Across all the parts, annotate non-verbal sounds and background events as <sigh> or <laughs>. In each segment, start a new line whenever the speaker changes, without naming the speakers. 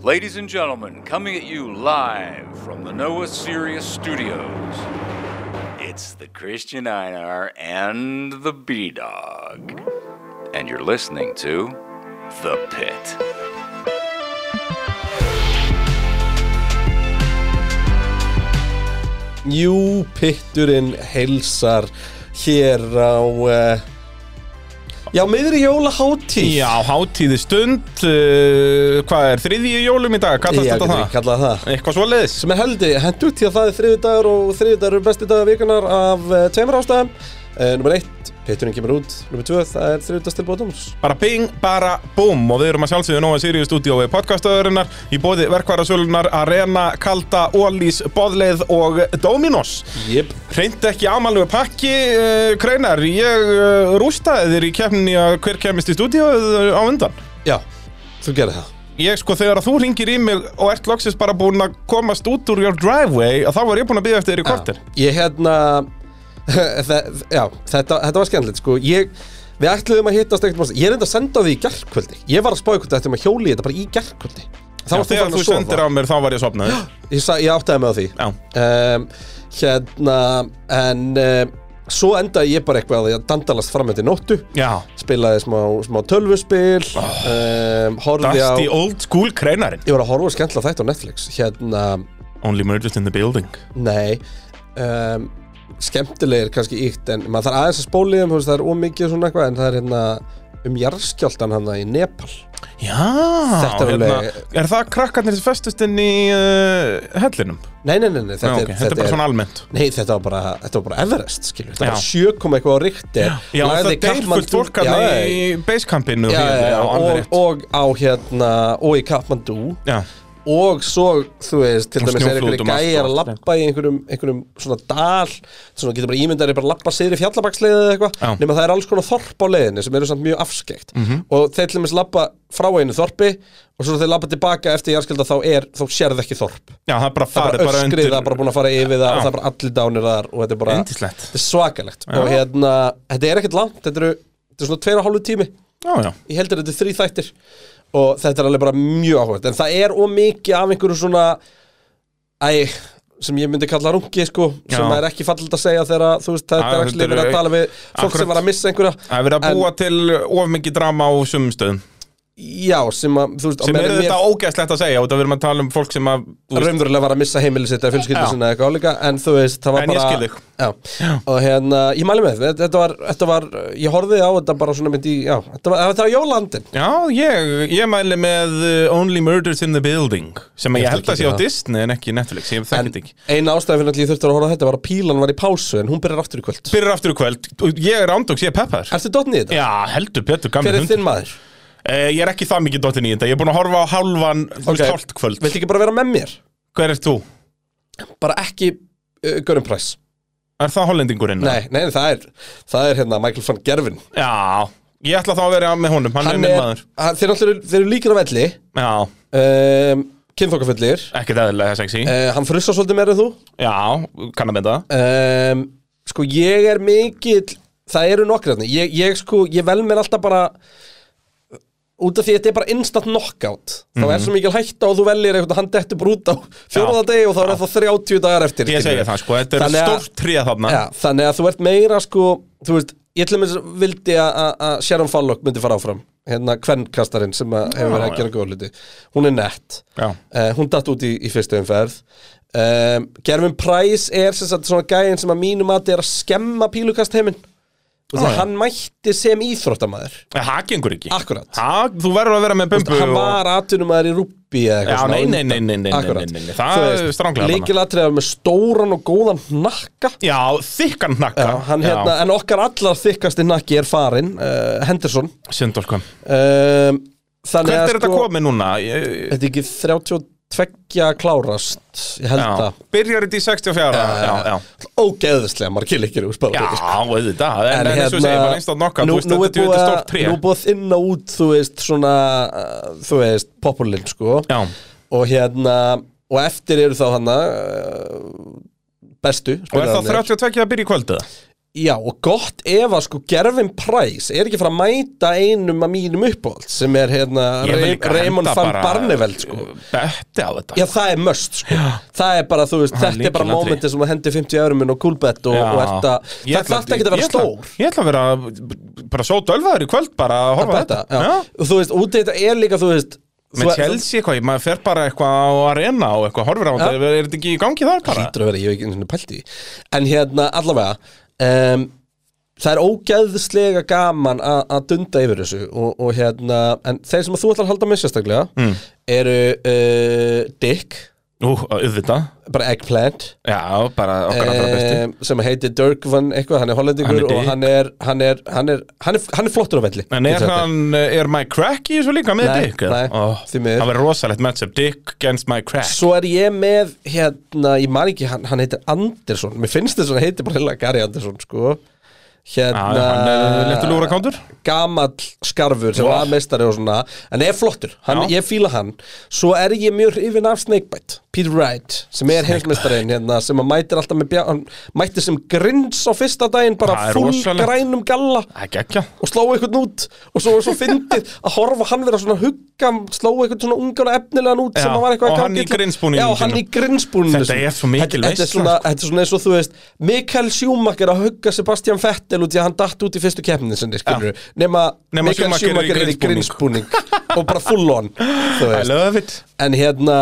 Ladies and gentlemen, coming at you live from the Noah Sirius Studios, it's the Christian Einar and the B Dog. And you're listening to The Pit.
Jú, pitturinn heilsar hér á uh, Já, miðri jólaháttíð
Já, hátíði stund, uh, hvað er, þriðji jólum í dag,
Já,
kallast þetta
getur
það?
við kallað það
Eitthvað svoleiðis?
sem er heldi, hendur til að það er þriðu dagur og þriðu dagur eru besti dagar vikunar af uh, tveimur ástæðum uh, Númer eitt, pitturinn kemur út Númer tvö, það er þriðu dagstilbóðums
Bara bing, bara búm og við erum að sjálfsögðu Nóa Sirius stúdíói podcastaðurinnar í bóði verkvarasölunar Arena, Kalda, Ólís, Bóðleið og Dominos.
Jep
Hreint ekki ámalveg pakki, uh, Kreinar, ég uh, rústaði þér í keppninni að hver kemist í stúdíóið uh, á undan.
Já, þú gerir það
Ég sko, þegar að þú ringir í mig og ert loksins bara búin að komast út úr your driveway, að þá var ég búin að byggja eftir þér í kortir.
Já, Ég hérna <laughs> þe- Já, þetta, þetta var skemmtilegt sko. ég, Við ætluðum að hittast ekkert bara- Ég er enda að senda á því í gerkvöldi Ég var að spáði hvernig þetta um að hjóli í þetta bara í gerkvöldi Þá
Já,
varst þú
þegar
farin
þú
að
sendir
sofa
á mér þá var ég
<gasps>
sopnaði
ég, sa, ég áttaði mig á því
Já.
um, Hérna En um, svo endaði ég bara eitthvað að ég dandalast fram eftir nóttu
Já
Spilaði smá, smá tölvuspil um, Horfði á
Dusty old school kreinarinn
Ég var að horfa skemmtilega þætt á Netflix Hérna,
Only murders in the building
nei um, skemmtilegir kannski íkt en maður þarf aðeins að spóli þeim, þú veist, það er ómikið svona eitthvað en það er hérna um jarðskjáltan hann í Nepal
Já
Þetta er
hérna,
alveg-
Er það krakkarnir sem festust inn í uh, hellinum?
Nei, nei, nei, nei þetta,
Þetta, Já, ok, þetta er bara svona almennt
Nei, þetta var bara, þetta var bara Everest, skilju Þetta
Já.
var sjö koma eitthvað á ríkti
Já, það deyr fullt fólk að í basecampinu
Já, já, já, og, og á hérna, og í Kathmandu
já,
og svo, þú veist, til
Og
dæmis er einhverju
snjóflóðum allt
gæjar
og
að
allt,
labba í einhverjum, einhverjum svona dal svona getur bara ímyndar bara að labba sér í fjallabaksleið eða
Já. Mhm.
eitthvað nema það er alls konar þorp á leiðinni sem eru samt mjög afskekt og þeir til dæmis labba frá einu þorpi og svo þeir labba tilbaka eftir jarðskjölda þá er, þá sérð ekki þorp
já, það er bara
það er
farið
bara
bara
öskrið,
undir
það er bara búin að fara yfir það og það er bara allir dánir þar og þetta er bara
Yndislegt.
þetta er svakalegt og hérna, þetta er ekkert langt þetta eru, þetta er svona tveir og hálfu tími
Já, já,
ég heldur þetta er þrý þættir og þetta er alveg bara mjög áhugað en það er ómikið af einhverju svona æ, sem ég myndi kalla rungi sko, sem
Já.
það er ekki fallið að segja þegar að, þú veist,
Já,
þetta er
þetta
ekki verið
eru-
að tala við fólk
Akkurat.
sem var að missa einhverja
það er verið að
En-
búa til of mikið drama á sumum stöðum
já, sem að, þú veist, á
sem
meðan
eru
mér-
þetta ógæslegt að segja og það verðum að tala um fólk sem að þú veist,
raunverulega var að missa heimili sitt eða fjölskyldu
Já.
sinna eða eitthvað álíka en þú veist, það var
En ég
bara
skil þig.
Já. og hérna, ég mæli með þetta þetta var, þetta var, ég horfði á þetta bara svona myndi, já, þetta var, þetta var jólandin
Já, ég, ég mæli með uh, Only Murders in the Building sem ég,
Ég
held
þekki
að sé á
það.
Disney en ekki Netflix, ég þekki þetta ekki
eina ástæðan fyrir að ég þurfti að horfa á þetta var að pílan var í pásu en hún byrjar aftur í kvöld
Byrjar aftur í kvöld, og ég er ándóks, ég er peppar
Ertu dottnið í þetta?
Já, heldur Petur,
Hver
gamli
er
hund
þinn maður?
eh, Ég er ekki það mikið dottin í þetta, ég er búin að horfa á hálfan, þú veist,
Ok.
hálft kvöld
Viltu ekki bara vera með mér?
Hver er þú?
Bara ekki uh, Görum Price
Er það hollendingurinn?
Nei, nei, nei, það er, það er hérna Michael van Gervin
Já, ég ætla þá að vera með honum, hann, er minn maður
hann- Þeir náttúrulega eru- þeir eru líkir á velli
Já,
um, Kynþokkafullir
ekkert eðlilega sexy
uh, Hann frussar svolítið meira en þú
Já, kann að mynda það
um, Sko, ég er mikill Það eru nokkri þarna ég, ég, sko, ég vel mér alltaf bara Út af því að þetta er bara instant knockout Þá er svo mikil hætta og þú veljir eitthvað Hann dettur bara út á fjóraða
Mhm. Já.
degi Og þá er það 30 dagar eftir
Ég
skilurðu.
segja það sko, þetta er
Þannig að-
stórt tríða þarna
Já, þannig að þú ert meira sko þú veist, ég til að mér vildi að- að að Sharon Fallock myndi fara áfram hérna kvennkastarinn sem að hefur verið að
Já,
gera góð hluti hún er nett
Já.
Eh, hún datt út í, í fyrstu umferð um, Gervin Price er sem sagt svona gæinn sem að mínum að er að skemma pílukast heiminn og
Já,
það
já.
hann mætti sem íþróttamæður
Nei, Það gengur ekki
Akkurat.
ha, Þú verður að vera með bumbu
hann
og-
var atvinnumæður í rúbbi eða
Já,
eitthvað svona
nei,
á
nei,
undan.
nei, nei, nei, nei,
Akkúrat.
nei, nei, nei. Það
Þú
er stranglega þarna.
lykilatriði að vera með stóran og góðan hnakka
Já, þykkan hnakka
Já, hann hérna, en okkar allar þykkasti nakki er farinn, uh, Henderson
Sjöndorkvam
um, Þannig sko,
Hvert er þetta komið núna? Ég,
Þetta er ekki 32 klárast, ég held
já,
það
byrjar þetta í 64 Já, já, já
Ógeðslega margir leikir úr
Já,
spilaflokki
auðvitað, en, en eins og ég segi, bara einstaklega nokka,
hérna- nú,
þú veist,
nú er
þetta er
búið
þetta
að-
stórt tré
Nú er búið að þinna út, þú veist, svona, uh, þú veist, populinn, sko
Já,
Og hérna, og eftir eru þá hana uh, bestu
og er það
spilararnir.
32 að byrja í kvöldið?
Já, og gott ef að sko Gervin Price er ekki fara að mæta einum af mínum uppáhald sem er hérna
Ég vil
Ray-
líka
Raymond
henda
van
bara,
Barneveld sko.
uh, Betti á þetta
Já, það er möst sko. Það er bara, þú veist,
Það er
þetta er bara
lykilatriði.
mómentið sem þú hendir 50 eurum minn og kúlbett og, og þetta
Ég
Það
ætla-
þarf ekki að vera
ég ætla-
stór
Ég ætla að vera bara svo dölvaður í kvöld bara að horfa á
Þetta,
þetta
já.
Já.
Og þú veist, úti þetta er líka, þú veist
Með Chelsea eitthvað, maður fer bara eitthvað á arena og eitthvað horfir á þetta, er er þetta ekki í gangi þar bara?
Lítur að vera, ég hef ekki einhvern veginn pælt í því. En hérna, allavega um, Það er ógeðslega gaman að að dunda yfir þessu og, og hérna, en þeir sem að þú ætlar að halda með sérstaklega
Mm.
eru uh, Dick,
Ú, auðvitað,
bara Eggplant
já, bara okkar allra besti
um, sem heitir Dirk van eitthvað, hann er
Hann er
hollendingur
Dick.
og hann er, hann, er, hann, er, hann, er, hann er flottur á velli
En er hann, er Mike Crack í þessu líka með
Nei,
Dick? eða?
nei,
Ó,
því miður.
Það verður rosalegt matchup, Dick against Mike Crack
Svo er ég með, hérna, ég man ekki, hann, hann heitir Andersson Mér finnst þess að hann heitir bara heila Gary Andersson, sko
Já,
Hérna
hann er léttur lúra kántur
gamall skarfur sem
Já.
var meistari og svona en er flottur, hann,
Já.
ég fíla hann svo er ég mjög hrifin af Snakebite Peter Wright, sem er heimsmeistarinn hérna, sem að mætir alltaf með bjá, hann mætir sem grins á fyrsta daginn bara
Það er
full
rosalegt.
grænum galla
Það er gekkja
og slóa einhvern út og svo, svo fyndið að horfa hann vera svona hugga slóa einhvern svona ungan og efnilegan út sem
Já,
að var eitthvað
og
að
hann
gangi
í
illa.
grinsbúningnum
Já, og hann í
sínum.
grinsbúninu
Þetta er svo mikil
þetta, er
veisla, sko.
svona- þetta er svona eins og þú veist Mikael Schumacher að hugga Sebastian Vettel út í að hann datt út í fyrstu keppnin sinni skilur nema,
Nema
Mikael
Schumacher er í
Schumacher er í grinsbúning og bara full on
<laughs>
þú
I
veist.
love it
en hérna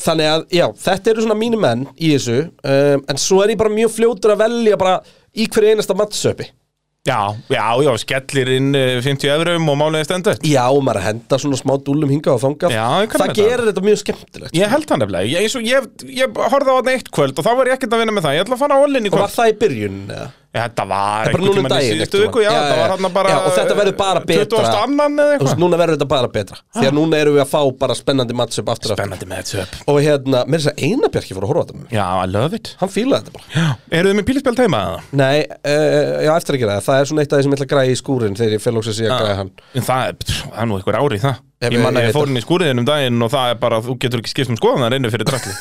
Þannig að, já, þetta eru svona mínu menn í þessu um, En svo er ég bara mjög fljótur að velja bara í hverju einasta mattsöpi
Já, já, já, skellir inn eh, 50 eurum og máliði stendur
Já, og maður er að henda svona smá dúllum hingað og þangað
Já, ég kann
Það
þetta.
gerir þetta mjög skemmtilegt
Ég held hann nefnilega, ég, eins og ég, ég horfði á þetta eitt kvöld og þá var ég ekkert að vinna með það, ég ætla að fara á allin í
Og
kvöld
var það í byrjun? eða?
Já, Þetta var
bara núna um
tímann í
daginn,
síðustu
einhvern
viku, já,
tímann. Já,
þetta
já,
var hann bara
já, og þetta verður bara betra.
22. eða
Þú veist,
eitthvað
núna verður þetta bara betra Því að núna erum við að fá bara spennandi matchup aftur aftur.
Spennandi með þetta upp
Og hérna, mér er þess að Einarbjörki fór að horfa á þetta með mér
Já, I love it
Hann fílaði þetta bara
Já, eru þið með pílispjöld heima eða?
Nei, uh, já, eftir að gera það Það er svona eitt af því sem ég ætla að græja í skúrin Þegar ég félags að sé að græja hann
En það er, pff, það er nú einhver ári í það
Ef
Ég
ég-
man
ég
að ég
veit
fór inn í skúriðin um daginn og það er bara, þú getur ekki skipt um skoðanar einu
<laughs>
fyrir drasli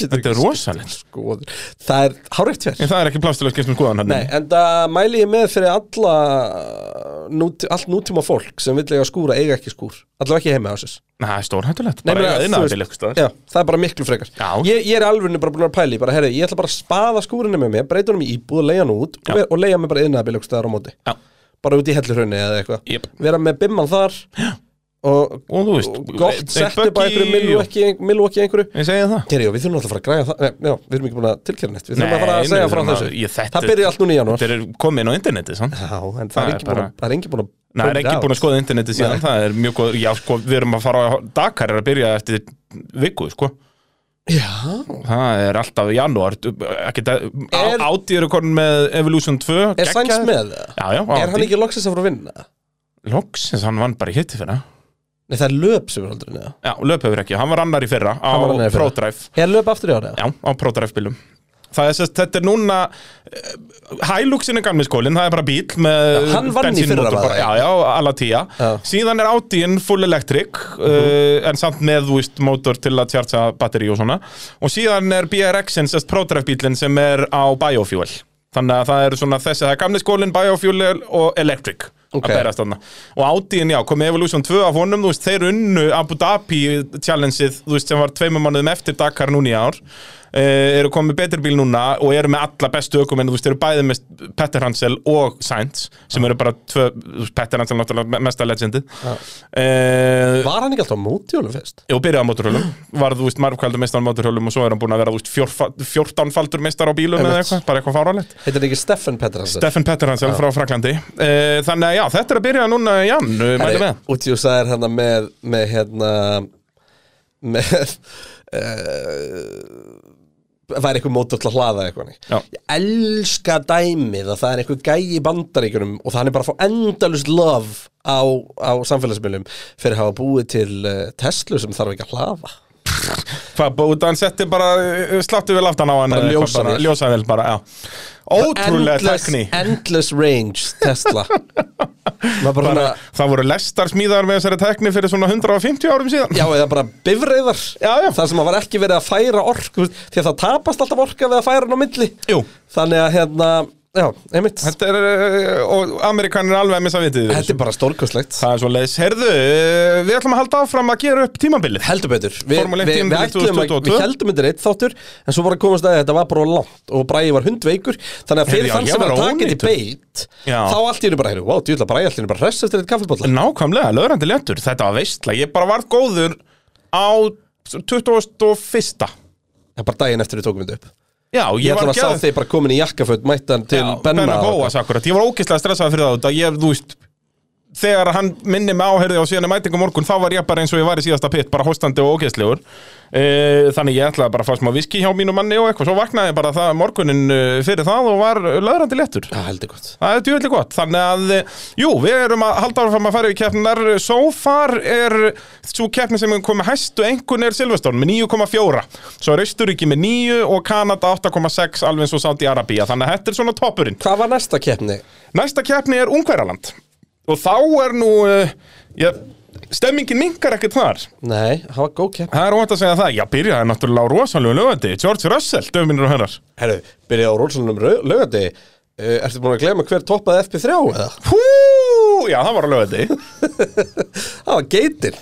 Þetta er
um
rosalegt
Skoður. Sko, Það er hárétt
En
fyrir
það er ekki pláss til að skipt um skoðanar
Nei, en það mæli ég með fyrir alla núti, allt nútíma fólk sem vill eiga skúra, eiga ekki skúr allavega ekki heima á þessu
það er stórhættulegt
Nei,
Bara
meina, þú
eiga þinn
veist-
aðeins eitthvað staðar
Já, það er bara miklu frekar
Já.
ég, ég er alveg bara búin að pæla í bara, herri, ég ætla bara að spaða skúrinu með mér breyta honum í íbúð, leiða hann út og,
Já.
ver, og leiða mig bara innabili okkur staðar á móti
Já,
bara út í hellurhraunni eða eitthvað
Jep.
vera með bimman þar og,
og þú veist
og gott settu
böggi
bara einhverju millu ekki, millu ekki einhverju
Ég segja það
Herri, og við þurfum alltaf að fara að græja það Nei, já, við erum ekki búin að tilkjæra neitt Við þurfum að fara
Nei,
að segja
nei,
frá
þarna-
þessu
ég- þetta-
Það byrja allt núna í janúar
Þetta er komin á interneti, sann
Já, en það
Það er
er enginn búin
bara-
að- það er engin búin að
Nei, það er ekki búin að skoða interneti síðan,
Nei.
það er mjög góður, já sko, við erum að fara á Dakar er að byrja eftir viku, sko
Já,
það er alltaf í janúar ekki,
Er-
er... Audi eru konun með Evolution 2
er sæns
geggjað.
með það?
Já, já,
Er hann
Audi,
ekki loksins að fara að vinna?
loksins hann vann bara í hitti fyrra
Nei, það er löp sem er aldrei neða
Já, löp hefur ekki, hann var annar í fyrra á
Hann var annar í fyrra.
ProDrive
Er löp aftur í ára?
Já, á ProDrive bílum Það er sérst, þetta er núna eh, Hiluxin er gamli skólinn, það er bara bíl með
Já, hann vann í fyrra,
bensínmótor
var
bara,
það?
Já, já, alla tíja
Já. Mhm.
Síðan er Audiin full electric uh, en samt með, þú veist, mótor til að tjartsa batteri og svona og síðan er BRX-in, sérst ProDrive bílinn sem er á biofuel Þannig að það eru svona þessi, það er gamli skólinn, biofuel og electric
Ok.
að berast þarna og Audiin, já, komið Evolution 2 af honum, þú veist, þeir unnu Abu Dhabi challengeið, þú veist, sem var tveimum mannuðum eftir Dakar núna í ár uh, eru komið betri bíl núna og eru með alla bestu ökumenn, þú veist, eru bæði með Petter Hansel og Sainz sem eru bara tvö, þú veist, Petter Hansel náttúrulega me- mesta legendi
Já.
uh,
Var hann ekki alltaf á mótjólu fyrst?
og byrjaði á móturhjólum var, þú veist, margkvældur meistar á móturhjólum og svo er hann búin að vera, þú veist, fjórfa- 14 faldur meistar á bílum eða
Einmitt.
eitthvað, bara eitthvað fáralegt
Heitir hann ekki Steffen Pettersson?
Steffen Petter Hansel frá Fraklandi uh, þannig að já, þetta er að byrja núna, já, mæli með
Útjú sagðir hérna með, með hérna með <laughs> uh, væri eitthvað mótur til að hlaða eitthvað
Já.
nei. ég elska dæmið að það er eitthvað gæi í bandaríkjunum og það er bara að fá endalust love á, á samfélagsmiðlum fyrir að hafa búið til uh, Tesla sem þarf ekki að hlaða
Hvað, búið hann setti bara uh, sláttu vel aftan á hann
Bara
eða eitthvað
ljósavél.
bara, ljósavél bara, já Ótrúlega
endless,
tekni
endless range
<laughs>
Tesla Maður bara,
bara,
bara
Það voru lestar smíðar með þessari tekni fyrir svona 150 árum síðan
Já, eða bara bifreiðar
Já, já.
Það sem að var ekki verið að færa orku þú veist, Því að það tapast alltaf orka við að færa hann á milli
Jú.
Þannig að hérna já, einmitt
Þetta er, eh, og Amerikanin er alveg að missa vitið í þessu.
Þetta er bara stórkostlegt
Það er svo leiðis, herðu, eh, við ætlum að halda áfram að gera upp tímabilið
Heldur betur Við,
Formule 1
við, við,
tímabilið
ætlum að-
2022.
við heldum þetta reitt þáttur En svo bara komast að þetta var bara of langt Og Bræði var hundveikur Þannig að fyrir
Heyrðu, já,
þann
ég
sem
var
var að taka þetta í
ónýtur.
beit
Já.
Þá allt í hennu bara, heyrðu, vá, djúla Bræði allt í hennu bara hress eftir þetta kaffibólla
Nákvæmlega, löðrandi léttur, þetta var veistla Ég bara varð góður á 21.
Það er bara daginn eftir við tókum þetta upp
Já,
Ég
ég,
ætlum
var
að sá þeir bara komin í jakkaföld Mættan til
Já,
Benna
Benna Bóas akkurat, ég var ógeðslega stressað fyrir það út að ég, þú veist þegar hann minni mig áherði á síðan í mætingum morgun þá var ég bara eins og ég var í síðasta pitt bara hóstandi og ógeðslegur e, þannig ég ætlaði bara að fá smá viski hjá mínu manni og eitthvað, svo vaknaði ég bara það morgunin eh, fyrir það og var löðrandi léttur
Já, heldur gott
Það er djúvillig gott, þannig að eh, jú, við erum að halda áfram að fara yfir keppnar so far er svo keppni sem er komið hæstu einhvern er Silveston með 9,4, svo er Austuríki með 9 og Kanada 8,6 alveg eins og Saudi Arabia, þannig að þetta er svona toppurinn
Hvað var næsta keppni?
Næsta keppni er Ungveraland og þá er nú uh, já, stemmingin minkar ekkert þar
Nei, það var góð keppni
Það er óvænt að segja það, já byrjaði náttúrulega á rosalegu lögandi George Russell, döminir og herrar
Herru, byrjaði á rólsalunum lögandi uh, Ertu búin að glema hver toppaði FP3 eða?
Hú, já það var á lögandi
Það var geitin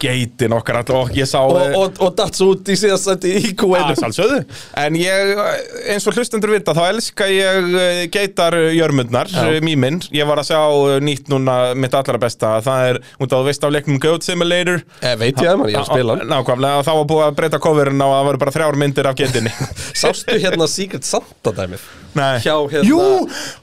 Geitin okkar alltaf, og ég sá
Og,
eh,
og, og datt svo út í síðast sendi í
að
Q1
sjálfsögðu En ég, eh, eins og hlustendur vita, þá elska ég eh, geitar jörmundnar,
Já.
mýminn Ég var að sjá eh, nýtt núna mitt allra besta Það er, hún þá veist af leiknum Goat Simulator
Eh, Veit ég það maður, ég er að spila hann
Nákvæmlega, þá var búið að breyta coverin á að það voru bara þrjár myndir af
<laughs>
getinni
Sástu hérna Secret Santa dæmið? Hjá hérna
Jú,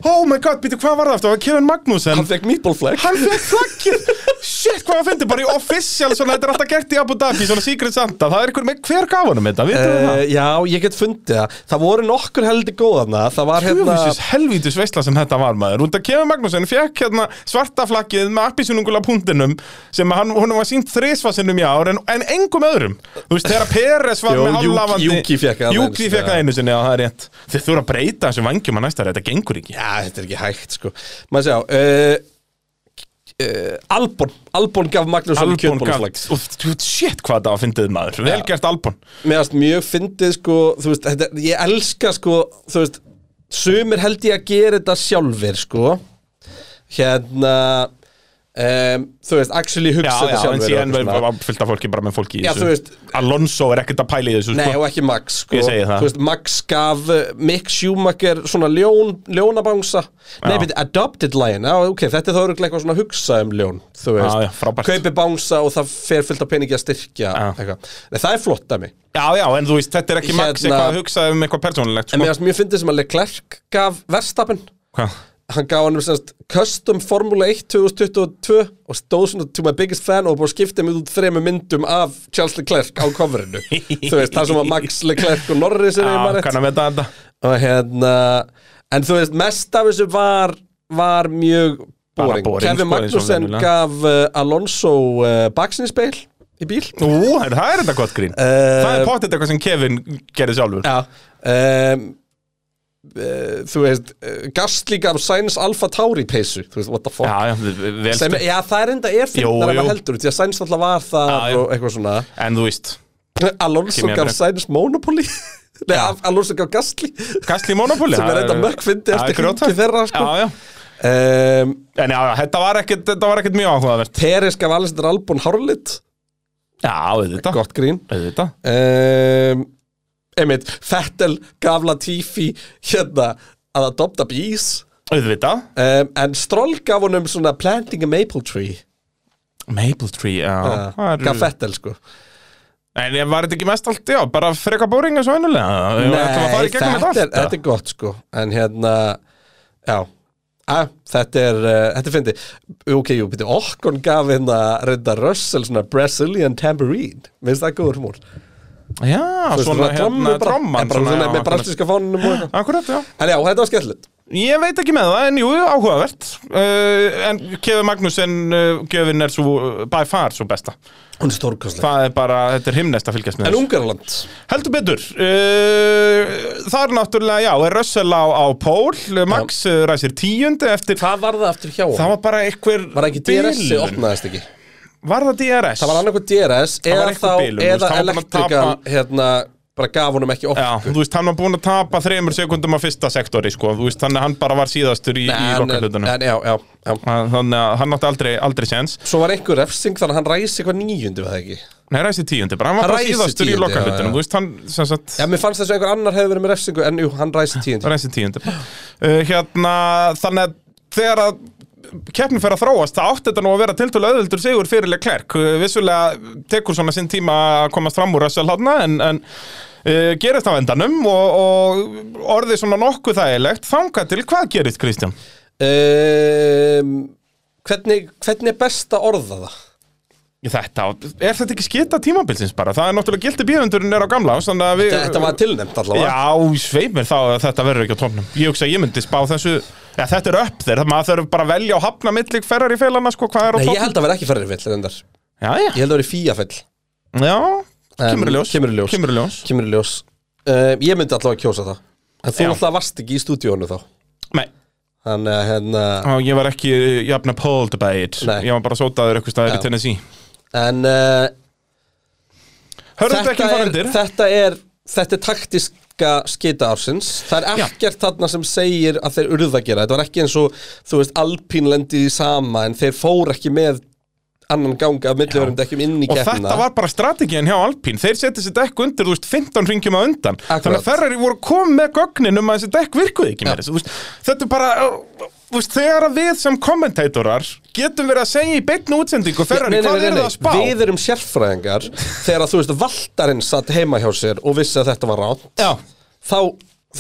oh my god, býtu hvað var það aftur? Það var Kevin Magnussen
Hann fekk meatball flag
Hann fekk
<laughs>
flaggið Shit, hvað hann fyndi, bara í official svona, þetta er alltaf gert í Abu Dhabi, svona Secret Santa Það er einhver með, hver gaf honum þetta, vitum við
Uh,
það?
já, ég get fundið það Það voru nokkur heldur góðana Það var hérna
Hjöfisins helvítis veistla sem þetta var maður Út að Kevin Magnússon fekk hérna svarta flaggið með appisunungula púntinum sem hann, hún var sínt þrisfasinum í ár en, en engum öðrum Þú veist, þegar Peres var
Jú,
með
Yuki-
hálafandi
Yuki fékk það einu
Júki
sinni,
fekk
já.
það einu sinni, já það er rétt Þeir þurfa að breyta þessum vangjum að næsta þetta gengur ekki
Já, þetta er ekki hægt sko Maður sjá uh, uh, Albon Albon gaf Magnússon
Albon
kjötbólflag
galt og þú veit, shit hvað það var fyndið maður Vel gert Albon
Mér varst mjög fyndið sko Þú veist, þetta, ég elska sko Þú veist, sumir held ég að gera þetta sjálfir sko Hérna um, Þú veist, actually
Já,
hugsa
já,
þetta
en
sjálfir og
síðan
eitthvað svona.
var fyllt af fólki bara með fólki í
Já, þú veist-
þessu Alonso er ekkert að pæla í þessu
Nei,
sko.
og ekki Max sko.
Ég segi það.
Þú veist, Max gaf uh, Mick Schumacher svona ljón, ljónabangsa Nei,
Já.
beti, adopted lion Já, ok, þetta er þá örugglega eitthvað svona hugsa um ljón Þú
Já,
veist,
já, frábært.
kaupi bangsa og það fer fullt af peningi að styrkja
Já.
eitthvað. Nei, það er flott að mig
Já, já, en þú veist, þetta er ekki Max
Hérna-
eitthvað að hugsa um eitthvað persónulegt
En
sko.
mér finnst mjög fyndið sem að Leclerc gaf verstapin
Hvað?
Hann gaf hann um semst custom Formula 1 2022 og stóð svona to my biggest fan og búið að skipta mig út þremur myndum af Charles Leclerc á coverinu Þú veist, það sem að Max Leclerc og Norris er
Já, kannan við þetta
og hérna en þú veist, mest af þessu var var mjög
Bara
boring,
boring,
Kevin
sko, eins og
Magnussen
venjulega.
gaf uh, Alonso uh, baksinspeil í bíl
Ú, það er- það er þetta gott grín Það er pottet eitthvað sem Kevin gerði
Eh,
sjálfur
já um, Uh, þú veist, uh, Gastli gaf Sainz Alfa Tauri peysu þú veist, what the fuck
Já, já, vel
Sem,
Sem...
já, það er enda er
Jú,
fyndar ef
jú.
maður heldur því að Sainz alltaf var það
Já, já.
og eitthvað svona
En þú veist,
Alonso
Kimi
gaf
Räikkönen.
Sainz Monopoly <laughs> Nei, Alonso gaf Gastli <laughs> sem
Gastli Monopoly
er enda mörg fyndi eftir hringi þeirra sko.
Já, já
um,
En já, já, þetta var ekkit, þetta var ekkit mjög áhugavert
Peres gaf Alistair Albon hárlit
Já, auðvitað
Gott grín
Auðvitað
um, Einmitt, Fettel gaf Latifi hérna að adopta bís
Auðvitað
um, En Stroll gaf honum svona planting a maple tree
Maple Tree, já
uh,
það eru-
Gaf Fettel sko
En var þetta ekki mest allt, já, bara freka bóring eins og ennulega Nei,
þetta er, þetta er gott sko En hérna, já Ah, þetta er, uh, þetta er fyndi Ok, jú, byrju, Okkon gaf hérna Reynda Russell svona Brazilian Tambourine Minnst það góður humor
Já, svona hérna
bara-
tromman
en bara svona
já,
með brastíska fánunum og
<laughs>
eitthvað
Akkurat, já
En já, þetta var skemmtilegt
Ég veit ekki með það, en jú, áhugavert uh, En Kevin Magnússon uh, Gjöfin er svo, uh, by far svo besta
Hún er stórkostlega
Það er bara, þetta er himnest að fylgjast með
En
þessu
Ungarland
Heldur betur uh, Þar náttúrulega, já, er Russell á, á pól Max uh, ræsir tíundi eftir
Hvað var það aftur hjá hann?
Það var bara einhver
var ekki DRS sem
bilun.
opnaðist ekki
Var það DRS?
Það var annarkoð DRS
var
eða
einhver
þá
bilun, þú
eða
veist, þá var búin að
elektrikan
tapa-
hérna bara gaf honum ekki
Já,
okkur
þú veist, hann var búinn að tapa þremur sekundum á fyrsta sektori, sko, þú veist, þannig að hann bara var síðastur í, í
en, en,
lokahlutunum.
en, já, já, já.
Þannig að hann átti aldrei, aldrei sens.
Svo var einhver refsing þannig að hann ræsi eitthvað níundi við það ekki
Nei, ræsi tíundi, bara hann var
Hann
bara
ræsi
síðastur
tíundi,
í
já, já.
lokahlutunum, þú veist, hann, sem sagt,
Já, mér fannst þess að einhver annar hefði verið með refsingu En jú, hann ræsi tíundi
ræsi tíundi. Uh, hérna, þannig að þegar að keppnin fer að þróast, það átti þetta nú að vera tiltölu auðvöldur sigur fyrir Leclerc. Uh, Vissulega tekur svona sinn tíma að komast fram úr Russell hladna, en, en uh, gerist á endanum og, og orðið svona nokkuð þægilegt. Þangað til, hvað gerist, Kristján?
um, hvernig, hvernig er best að orða það?
Ég, Þetta, er þetta ekki skita tímabilsins bara? Það er náttúrulega gildi bíðundurinn er á gamla ás, þannig að við...
Þetta var tilnefnd allavega
Já, sveip mér þá að þetta verður ekki á tónum. Ég hugsa að ég myndi spá þessu... Já, þetta er upp þeir, maður þarf bara að velja og hafna millik ferrar í félana, sko, hvað er á
Nei, ég
tónum?
held að vera ekki ferrarfell reyndar Ég
Já, já,
held að vera fíafell
já, kemur í
En-
ljós.
kemur í ljós.
Kemur í ljós.
Kemur í ljós uh, Ég myndi allavega kjósa það En þú
Já.
alltaf varst ekki í stúdíónu þá
Nei,
Þannig að hérna
og ég var ekki jafn appalled by it.
Nei.
Ég var bara sótaður eitthvað staðir
Já.
í Tennessee.
En uh,
Hörðu þetta
þetta,
ekki fara
er,
undir?
þetta er Þetta er taktiska skita ársins Það er
Já.
ekkert þarna sem segir að þeir urðu að gera Þetta var ekki eins og, þú veist, Alpín lendið í sama En þeir fór ekki með annan ganga af milliverjum dekkjum inn í
Og
keppna
þetta var bara strategin hjá Alpín Þeir setja þessi dekk undir, þú veist, 15 ringjum að undan
Akkurat.
Þannig að Ferrari voru komið með gögnin um að þessi dekk virkuði ekki meira Þú veist, Þetta er bara, uh, þú veist, þegar að við sem kommentatorar getum verið að segja í beinni útsendingu Ferrari,
Nei, nei,
hvað
nei,
er
nei,
það að spá?
Við erum sérfræðingar þegar að, þú veist, Valtarinn satt heima hjá sér og vissi að þetta var rátt
Já,
þá,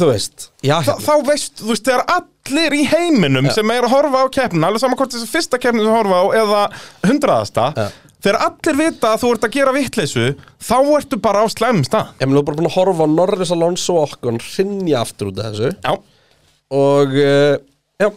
þú veist já,
þá, þá veist, þú veist, þegar allir í heiminum sem er að horfa á keppnina alveg saman hvort þessi fyrsta keppnin sem horfa á eða hundraðasta
Já.
Þegar allir vita að þú ert að gera vitleisu, þá ertu bara á slæmum stað.
Ég meina, þú er bara búin að horfa á Norris Alonso og okkur hrinja aftur út af þessu
Já,
og, uh, já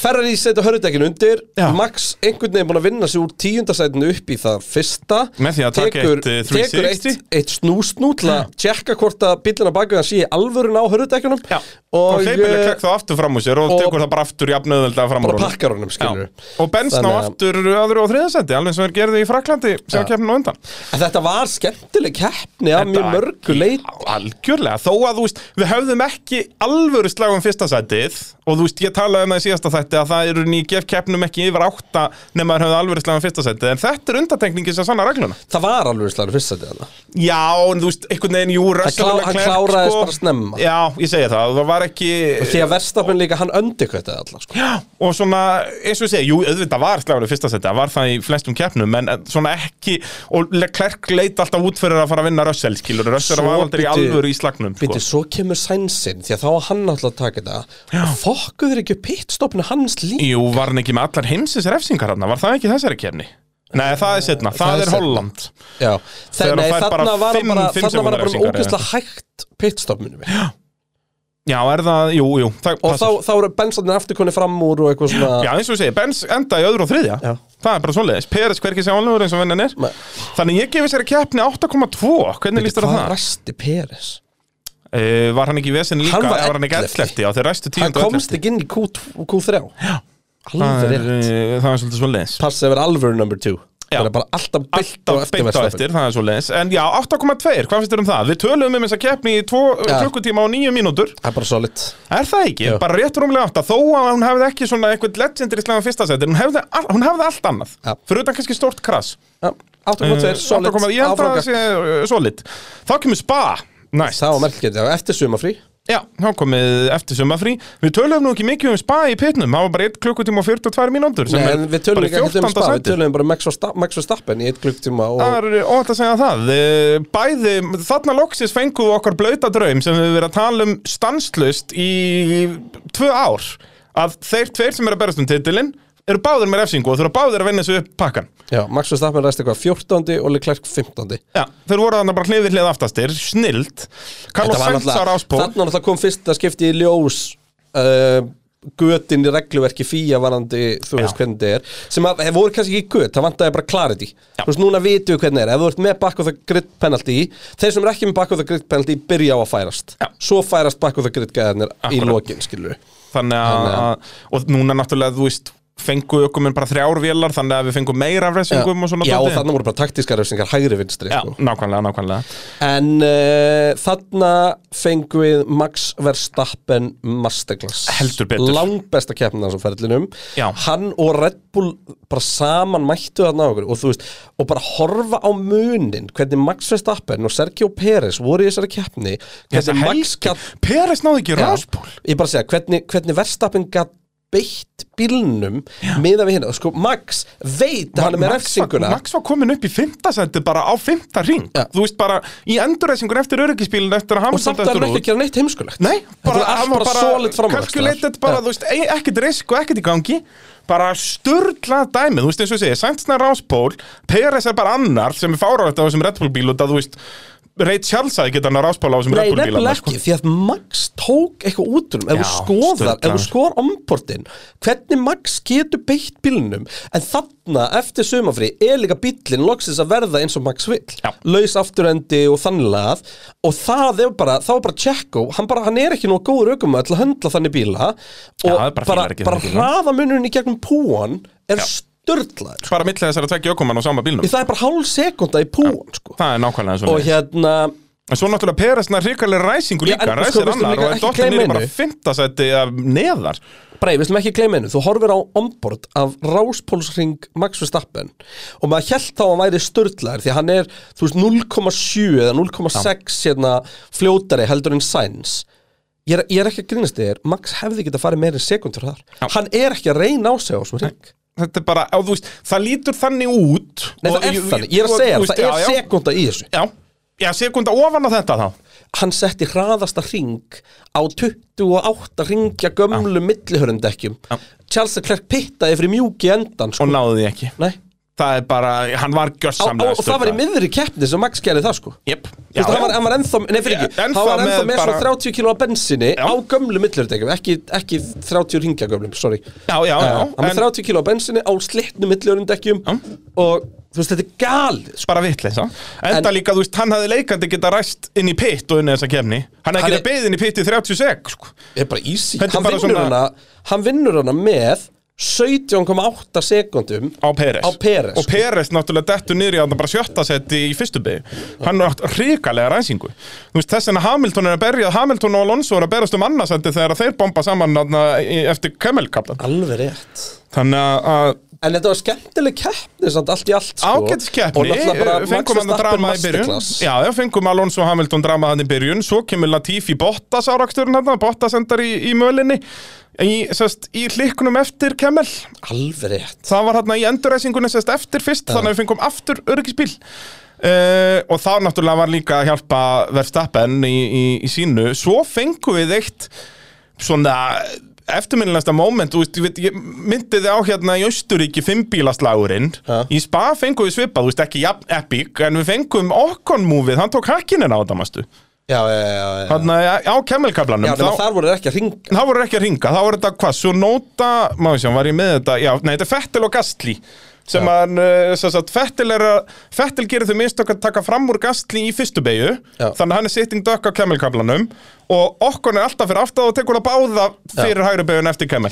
Ferrari setja hörðudekkinu undir
Já.
Max einhvern veginn búin að vinna sig úr tíundasætinu upp í það fyrsta
Með því að taka
Tekur-
eitt, eh,
Tekur
360.
eitt, eitt snúsnú til að tjekka hvort að bílina baki hann sé í alvörun á hörðudekkunum
Já, og
og,
hleypileg
eh,
kekk þá aftur fram úr sér og,
og-
tekur það bara aftur jafn auðveldlega fram úr
bara
honum.
pakkar honum, skilur
Já, og Benz ná
Þannig að-
aftur öðru og þriðasendi, alveg sem er gerði í Fraklandi sem
Já.
keppnum undan.
En þetta var skemmtileg keppni af mjög mörgu leit
Já, Algjörlega, þó að þú veist, við höfðum ekki alvöru slag um fyrsta sætið og þú veist, ég talaði um það í síðasta þætti að það eru ný gef keppnum ekki yfir átta nema þeir höfðu alvöru slag um fyrsta sætið, en þetta er undatekningi sem sanna regluna.
Það var alveg slagur fyrst sæti þarna
Já, en þú veist, einhvern veginn, jú, Russell
klá-
og
hann
Leclerc,
kláraðist bara snemma.
Já, ég segi það, það var ekki...
Því að verstafinn líka, hann öndi kvætið allar sko.
Já, og svona, eins og ég segi, jú, auðvitað var slagur í fyrsta seti, það var það í flestum keppnum, en svona ekki, og Leclerc leit alltaf út fyrir að fara að vinna Russell, skilur, Russell
Svo
var aldrei í
bíddu-
alvöru í slagnum, sko.
Býtti, svo kemur sænsinn Því að þá var hann alltaf að taka þetta Og Fokkuður ekki pitstopinu hans líka
Jú, var hann ekki með allar heimsins refsingar hann, var það ekki í þessari keppni? Nei, það er setna, það,
það er
er
seinna.
Holland.
Já,
Þegar
þannig
hann fær
að
bara
þarna var hann
fimm-
bara
fimm
Þarna var hann bara
sekúndur
ógeðslega
refsingar,
hægt pitstopinu minn
Já, er það, jú, jú, það
Og þá, þá eru bensarnir aftur konni fram úr og eitthvað svona
Já, eins og ég segi, Benz enda í öðru og þriðja
Já.
Það er bara svoleiðis, Peres hverki sjálfur eins og vennan er
Nei.
Þannig ég gefi sér að keppni 8,2 Hvernig líst þér á
Hvað
það?
ræsti Peres?
Uh, var hann ekki í vesinn líka?
Hann var
eða var hann ekki
11.
11? Já, þeir ræstu 10.
Hann komst ekki inn í Q, Q3 Já
það
Alveg
er,
rétt
uh, það er svolítið svo leiðis
Passið að vera alvöru number two
Já.
Það er bara alltaf byggt og
Alltaf
eftir
beint á
Verstappen.
eftir, það er svo leiðis En já, 8,2, hvað finnst þér um það? Við töluðum um þess að keppni í 2
Já.
klukkutíma og 9 mínútur
Það er bara solid
Er það ekki?
Já.
Bara rétt rúmlega 8 Þó að hún hefði ekki svona eitthvað legendary slæðan fyrsta seti Hún hefði, all, hún hefði allt annað
Já.
Fyrir utan kannski stórt krass
Já, 8.2,
Eh,
solid
8,2, Ég held að það
áframgak.
sé uh, solid Þá kemur spa Næst
Það var merkilegt, já, eftir sumafrí
Já, þá komið eftir sumafrí Við töluðum nú ekki mikið um spa í pitnum Það var bara 1 klukkutíma og 42 mínútur sem
Nei,
er
en við tölum
bara
ekki ekkert um
14.
spa, við
sætið.
tölum bara um Max Versta- Max Verstappen í eitt klukktíma
Það
og
er ótt að segja það Eh, Bæði, þarna loksis fengum við okkar blauta draum sem við höfum verið að tala um stanslust í tvö ár að þeir tveir sem eru að berast um titilinn eru báðir með refsingu og þurfa báðir að vinna þessu upp pakkan
já, Max Verstappen resti eitthvað 14. og Leclerc 15.
Já, þeir voru þarna bara hlifið hlið aftastir, snild Carlos Sainz var áspó
þannig að það kom fyrst að skipti í ljós uh, götin í regluverki fíja varandi, þú veist hvernig þetta er sem að, það voru kannski ekki göt, það vantaði bara clarity
Já.
þú veist, núna vitum við hvernig það er ef þú ert með back of the grid penalty þeir sem eru ekki með back of the grid penalty byrja á að færast
Já.
svo færast back of the grid gæðarnir í
Akkúrat.
lokin, skilur við
Þannig að, og núna náttúrulega, þú veist fengu ökuminn bara þrjár vélar þannig að við fengum meira af resingum og svona
Já, og
dóti.
þarna voru bara taktískar refsingar hægri vinstri
Já,
sko.
nákvæmlega, nákvæmlega
En uh, þarna fengum við Max Verstappen Masterclass
Heldur betur.
Langbesta keppnin hans á ferlinum
Já.
Hann og Red Bull bara saman mættu þarna á okkur og, þú veist, og bara horfa á munin hvernig Max Verstappen og Sergio Pérez voru í þessari keppni
Þetta
hvernig Max
helgi,
gat
Peres náði ekki
Já.
ráspól
Ég bara segja, hvernig, hvernig verstappin gat beitt bílnum miða við hérna, sko Max veit að hann er með refsinguna
Max var komin upp í fymtasendi bara á fymta ring
Já.
Þú veist bara, í endurreysingun eftir öryggispílin eftir að
og
Hamilton
samt að hann
dettur
ekki
út.
að gera neitt heimskulegt
Nei,
bara, allt
hann var
bara, bara solid
Calculated bara, þú veist, e- ekkert risk og ekkert í gangi Bara sturla dæmið, þú veist eins og ég segi Saintsnar ráspól, Peres er bara annar sem er fárálegt á þessum Red Bull bíl og það, þú veist Ray Charles að geta hann að ráspól á þessum
Nei,
Red Bull sko. bíl
nefnilega ekki, því að Max tók eitthvað út úr um, ef
Já,
þú skoðar,
sturlaður.
ef þú skoðar omportin hvernig Max getur beitt bílnum en þarna, eftir sumafri er líka bílinn loksins að verða eins og Max vill,
Já.
laus afturendi og þannlegað og það er bara þá er bara Tjekko, hann bara, hann er ekki nóg góður aukumöð til að höndla þannig bíla og
það er bara
bara,
fílar ekki
bara
þannig bíla.
hraða munurinn í gegnum púan er
Já.
störtlaður
Bara milli þessara tvekki ökumann á sama bílnum
það er bara hálf sekunda í púan sko.
Það er nákvæmlega
og
svona
hérna
En svo náttúrulega Peresna hrikalega ræsingu
Já,
líka,
en
hann
sko,
ræsir
veistu
annar
líka
og
ekki
dottir
gleyma
niður bara
einu.
fymtasætti neðar.
Brei, við slum ekki gleyma einu, þú horfir á ombord af ráspólsring Max Verstappen og maður held þá að hann væri störtlaður því að hann er, þú veist, 0,7 eða 0,6 hérna fljótari heldur en Sainz ég er, ég er ekki að grínast þér, Max hefði getað farið meira en sekundur þar, hann er ekki að reyna á sig á þessum ring,
Þetta er bara, á, þú veist, það lítur þannig út.
nei það er þannig, ég er að segja, þér, það er
sekunda.
sekunda í þessu
Já, já, sekunda ofan á þetta þá.
hann setti hraðasta ring á 28 ringja gömlu millihörundekkjum,
Já.
Charles Leclerc pittaði fyrir mjúki endan,
Og
sko,
náði því ekki.
nei
Það er bara, hann var
á, á,
gjörsamlega
og það var í miðri keppni sem Max gerði það sko
Jep,
Já,
já,
hann, var,
já.
hann var ennþá, nei fyrir ekki,
Ja, ennþá
hann var ennþá
með
með svona
bara-
30 kilo af bensinni
Já.
á gömlu millurdegjum, ekki, ekki 30 ringjagömlum, sorry
Já, já,
Eh,
já.
Hann var
En
30 kilo af bensinni á slitnu millurdegjum
Já.
og þú veist, þetta er galið sko.
bara vitleisa. Enda
En-
líka, þú veist, hann hafði leikandi geta ræst inn í pitt og inn í þessa kefni.
Hann
Hann hefði
er-
getað beðið inn í pitt í 30 sek, sko.
Þetta er bara easy
Þetta er
Hann
bara
vinnur
svona-
hana, hann vinnur hana með 17,8 sekundum
á Peres
Á Perez,
og
sko.
Peres náttúrulega dettur niður í að bara sjötta seti í fyrstu bygg hann er átt hrikalega ræsingu Þú veist, þess vegna Hamilton er að berja Hamilton og Alonso er að berjast um annarsendi þegar þeir bomba saman þarna í- eftir kemelkaplan
Alveg rétt
þannig að- að
En þetta var skemmtileg keppni samt allt í allt sko. Og
ágætiskeppni
náttúrulega bara
eh, fengum
Max
hann
Verstappen
drama í byrjun
masterclass.
já, já, fengum Alonso og Hamilton drama hann í byrjun svo kemur Latifi Bottas áraksturinn hann Bottas endar í, í mölinni í, sest, í hlikkunum eftir kemel
Alveg rétt
það var hérna í endurreysingunni sérst eftir fyrst þannig að við fengum aftur öryggisbíl Uh, og þá náttúrulega var líka að hjálpa Verstappen í, í, í sínu svo fengum við eitt svona eftirminnilegasta moment þú veist, ég, veit, ég myndi þið á hérna í Austuríki fimmbílaslagurinn
Já.
í spa fengum við svipað, þú veist ekki jafn epic en við fengum okkon múfið, hann tók hakkinin á þetta mastu,
Já, já, já, já.
hann á kemmelkablanum
Já, nema þar voru þeir ekki að ringa
þá voru ekki að ringa, þá voru þetta hvað, svo nota, má ég sjá, var ég með þetta, já, nei, þetta er Fettil og Gastli sem hann, uh, sem sagt, Fettil er að, Fettil gerir þau mistök að taka fram úr Gastli í fyrstu beigju,
Já.
þannig að hann er sitting duck á kemmelkablanum og okkon er alltaf fyrir aftað og tekur að báða fyrir hægri beigjun eftir kemmel.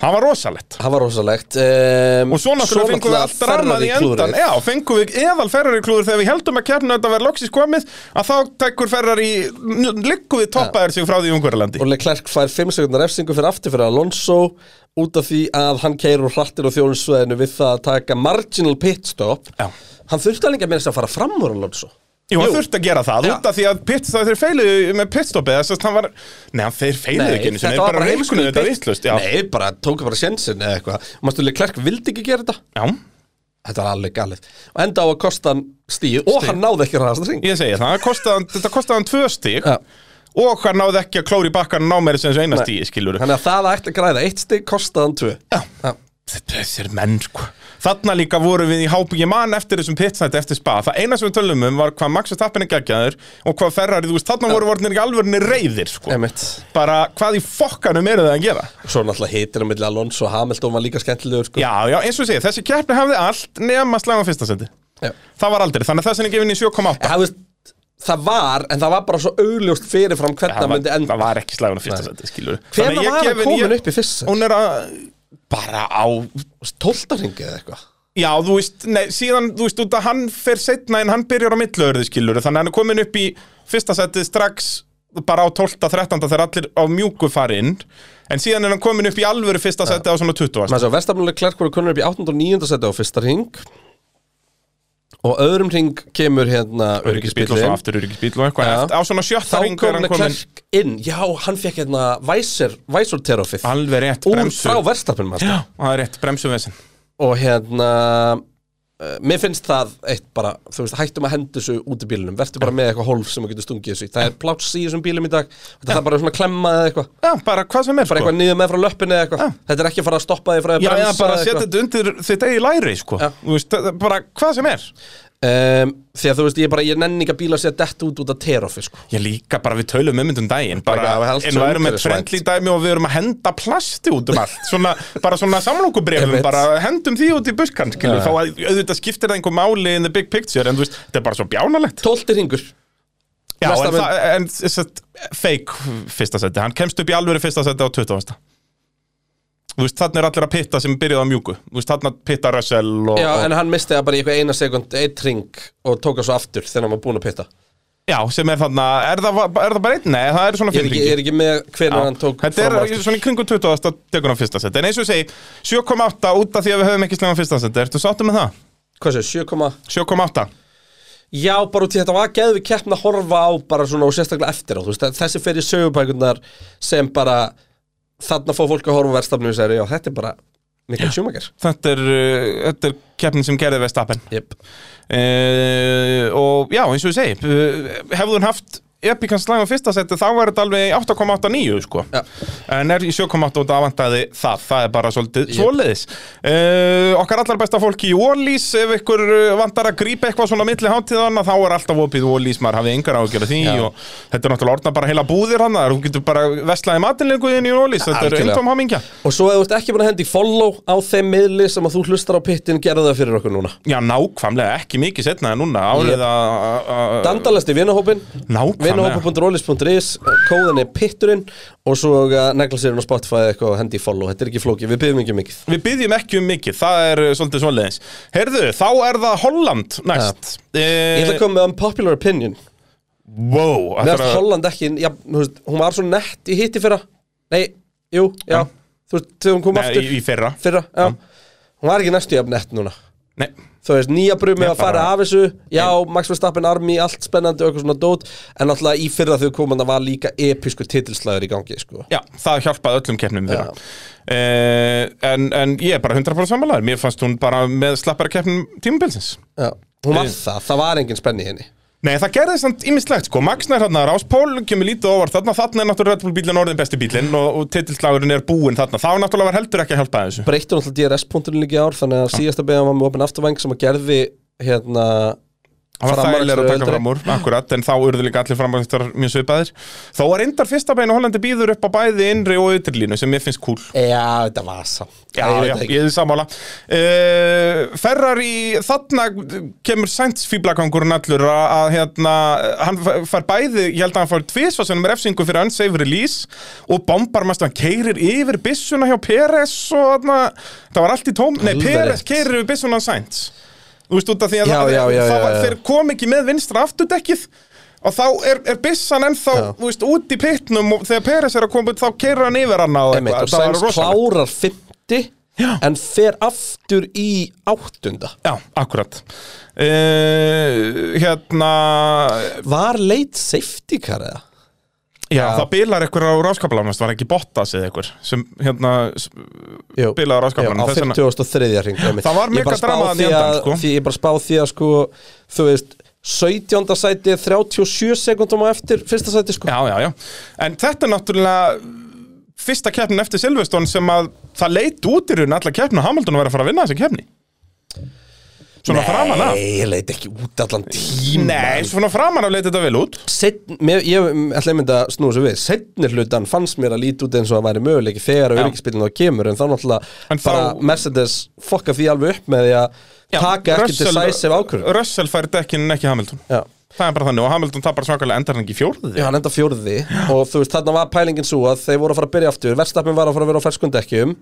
Það var rosalegt.
Það var rosalegt um,
Og svo náttúrulega fengum við allt rannað í endan Já, fengum við eðal Ferrari klúður þegar við heldum að kjarnu þetta verði loksis komið að þá tekur Ferrari, liggum við toppaðir sig frá því í Ungverjalandi
Og Leclerc fær 5 sekundar efsingu fyrir aftur fyrir Alonso út af því að hann keirur hrattir á þjónusveðinu við það að taka marginal pitstop
Já.
Hann þurfti alveg að meira þess að fara fram úr Alonso
Jú, hann þurfti að gera það,
Já.
út af því að pit, það þeir feiluðu með pitstoppið, þess að hann var, neðan þeir feiluðu ekki, einu sinni, þeir bara reiknuðu þetta
pit-
vittlust, já.
Nei, bara tóku bara sjensin eða eitthvað Mástu Leclerc vildi ekki gera þetta
já,
Þetta var alveg galið Og enda á að kosta hann stíð Og hann náði ekki ræðast að ringa
ég segi það, það kostaði hann- þetta kostaði hann tvö stík
Já.
og hann náði ekki að klóri bakkan ná meira sem þessu
Nei.
eina stíi, skilur
Þannig að það að ætla að græða eitt stig kostaði hann tvö Já.
Þessir menn, sko. Þarna líka voru við í hápu, ég man eftir þessum pitstætti eftir spa, það eina sem við tölum um var hvað Max Verstappen er geggjaður og hvað Ferrari, þú veist, þarna voru vornir í alvörni reyðir, sko.
Einmitt.
Bara hvað í fokkanum eru það að gera?
Svo náttúrulega hitir á milli Alonso og Hamilton var líka skemmtilegur sko.
Já, já, eins og ég segi, þessi keppni hafði allt nema slagum fyrsta seti
Já.
Það var aldrei, þannig að þessin er gefin í 7,8
Það, veist, það var, en það var bara svo augljóst fyrirfram hvernig
það,
það myndi
var-
enda
það var ekki slagun á fyrsta seti, skilur
Hvenær var hann kominn upp í fyrsta sæti?
Hún er að bara á
12. ringi eða eitthvað
Já, þú veist, nei, síðan, þú veist, út að hann fer setna en hann byrjar á millöðurði skilur þannig að hann er komin upp í fyrsta setið strax bara á 12. 13. þegar allir á mjúku farinn en síðan er hann komin upp í alvöru fyrsta setið á svona 20.
Maður svo, Vestafnuleg Klerk voru kunnur upp í 809. seti á fyrsta ring og öðrum ring kemur hérna
Öryggisbíl og svo
öryggisbíllinn.
aftur öryggisbíl og eitthvað
Já.
Eftir- á svona
Þá
sjötta ringu er
kom
hann komin
Klerk inn, já, hann fekk hérna Væsir, Væsur terofið
alveg rétt
úr
bremsu
frá Verstafnum
Já, það er rétt, bremsuvesen
og hérna uh, mér finnst það eitt bara þú veist, hættum að henda þessu út í bílunum verður bara með eitthvað hólf sem þú getur stungið þessu í. það er pláss í þessum bílum í dag þetta er bara svona klemma eða eitthvað
Já, bara hvað sem
bara
er sko
eitthvað niður með frá löppinu eða eitthvað þetta er ekki að fara að stoppa þig frá að
Já, eða bara
eða
setja
eitthvað.
þetta undir þitt eigi læri, sko
Já.
Þú veist, það- bara hvað sem er
um, því að þú veist, ég bara, ég nenni ekki að bíla að setja þetta út út af terofi sko.
Ég líka bara við tölum um myndum daginn bara,
Bara helst
En við erum með
umhverfisvænt.
friendly dæmi og við erum að henda plasti út um allt svona, Bara svona samlokubrefum,
Einmitt.
bara hendum því út í buskan skilur,
Já.
Þá að, auðvitað skiptir það einhver máli in the big picture En þú veist, þetta er bara svo bjánalegt
tólti ringur
Já,
Næsta
en,
mynd.
það, en satt, fake fyrsta seti Hann kemst upp í alvöru fyrsta seti á 20. Þú veist, þannig er allir að pitta sem byrjuð á mjúku Þú veist, þannig að pitta Russell og,
já,
og,
en hann misti það bara í eitthvað eina sekund eitt ring og tók það svo aftur þegar hann var búin að pitta
já, sem er þannig að Er það, er það bara einn? Nei, það er
ég
svona
er ekki,
fimmhringi.
ég er ekki með hvernig hann tók
Þetta
fram og
er
aftur.
svona í kringum 20. tekur hann fyrsta set En eins og ég segi, 7,8 út af því að við höfum ekki slegum fyrsta set Ertu sáttu með það?
Hvað sé, 7,8
7,8
Já, bara út í þetta var geðvið keppn að horfa á bara svona og sérstaklega eftir á, þú veist, þessi fer í sögubækurnar sem bara þarna fá fólk að horfa á verðstafnum og segja, já, þetta er bara Mikael Schumacher.
Þetta er, uh, þetta er keppnin sem gerði Vestapen
Yep.
uh, Og já, eins og ég segi uh, Hefðu hann haft epikans slægum fyrsta seti Þá var þetta alveg 8,89 sko.
Já.
En er í 7,8 út af vantaði það Það er bara svolítið svoleiðis uh, Okkar allar besta fólki í Wallís Ef ykkur uh, vantar að grípa eitthvað svona á milli hátíðana þá er alltaf opið Wallís Maður hafið yngar á að gera því
Já.
og Þetta er náttúrulega orðna bara heila búðir hann Þú getur bara veslaði matinleikuðin í Wallís Þetta er
Algjörlega.
undum hamingja
Og svo ef þú ert ekki búin að hendi follow á þeim miðli sem að þú hlustar á pittin, gerðu það fyrir okkur núna.
Já, nákvæmlega, ekki mikið setna en núna Árið
Ég-
að
Dandalast í vinahópin,
Nákvæmlega
vinahópa.rolis.is, kóðan er pitturinn og svo uh, negla sér hún á Spotify eða eitthvað og hendi follow, þetta er ekki flókið, við byggjum ekki mikið.
Við byggjum ekki um mikið, það er uh, svolítið svoleiðis Herðu, þá er það Holland næst ja.
Ég ætla að koma með unpopular opinion.
Wow,
Mér
ætlar
finnst
að-
Holland ekki, já, þú veist, hún var svo nett í hitti fyrra Nei, jú, já, þú veist, þegar hún kom
Nei,
aftur
í, í fyrra
fyrra, já Hún var ekki næstu jafn nett núna
Nei,
Þú veist, nýja brumi
Nei,
að fara
bara-
af þessu Já, Max Verstappen, Army, allt spennandi og eitthvað svona dót En alltaf í fyrra þegar kom hann var líka episku titilslæður í gangi, sko
já, það hjálpaði öllum keppnum fyrra ja. en, en ég er bara 100% sammálaður Mér fannst hún bara með slappara keppnum tímabilsins
já. Hún var
Nei.
það, það var engin spenni í henni
Nei, það gerðist samt ímislegt, sko, Max nær hérna Ráspól kemur lítið óvart þarna, þarna er náttúrulega Red Bull bílinn orðin besti bílinn og, og titilslagurinn er búinn þarna, þá náttúrulega var heldur ekki að hjálpa þessu
Breytti hún alltaf DRS-punktinu líka í ár Þannig að síðasta beðan var með opinn afturvæng sem að gerði, hérna
Það var
framar
þægilega
eftir
að taka
öldri.
fram úr, akkurat, en þá urðu líka allir framar mjög svipaðir. Þó að reyndar fyrsta beinu Hollandi býður upp á bæði innri og ytrirlínu sem ég finnst kúl.
Já, þetta var samt
Já,
Ég veit
já,
það ekki.
ég er sammála. Uh, Ferrari, þarna kemur Sainz fýblakangurinn allur að, að hérna, hann f- fær bæði, ég held að hann fær tvisvar sem er efsingu fyrir unsafe release og bombar mest hann keirir yfir byssuna hjá Peres og þarna, það var allt í tóm, nei,
Alveg
Peres
rétt.
keirir yfir byssuna hann Sainz. Þú veist út af því að
Já,
það,
já, já,
það var,
já, já.
þeir kom ekki með vinstra afturdekkið og þá er, er byssan ennþá
Já.
þú veist, út í pittnum og þegar Peres er að koma út þá keirir hann yfir hann á
Einmitt, og
það var
Sainz
rosalegt.
klárar 50
Já.
en fer aftur í áttunda
Já, akkurat uh, Hérna
Var leit safety car eða?
Já, það bilar einhver á ráskaplanast var ekki Bottas eða einhver sem hérna s-
Jú,
Bilaður á skápnum,
jú, á
þess vegna.
53. ring einmitt.
Það var
Ég
mega
bara spá
drama þarna í
því
endan,
að-
sko.
Því ég bara spá því að sko þú veist 17. sæti 37 sekundum á eftir fyrsta sæti sko
Já, já, já En þetta er náttúrulega fyrsta keppnin eftir Silveston sem að það leit út í raun allar keppnin og Hamilton var að fara að vinna þessa keppni Svona framan af
Nei, ég leit ekki út allan tíma
Nei, svona framan af leit þetta vel út
Setn, mér, ég ætla einmitt að snúa svo við setni hlutan fannst mér að líti út eins og að væri möguleiki þegar
Já.
öryggisbillin þá kemur en þá náttúrulega
En þá-
bara Mercedes fokka því alveg upp með því að taka ekki
Russell-
decisive ákvörðun
Russell fær dekkin en ekki Hamilton
Já.
Það er bara þannig og Hamilton tapar svakalega endar hann ekki í fjórði
Já, hann enda fjórði og þú veist, þarna var pælingin svo að þeir voru að fara að byrja aftur Verstappin var að fara að vera á ferskundekkjum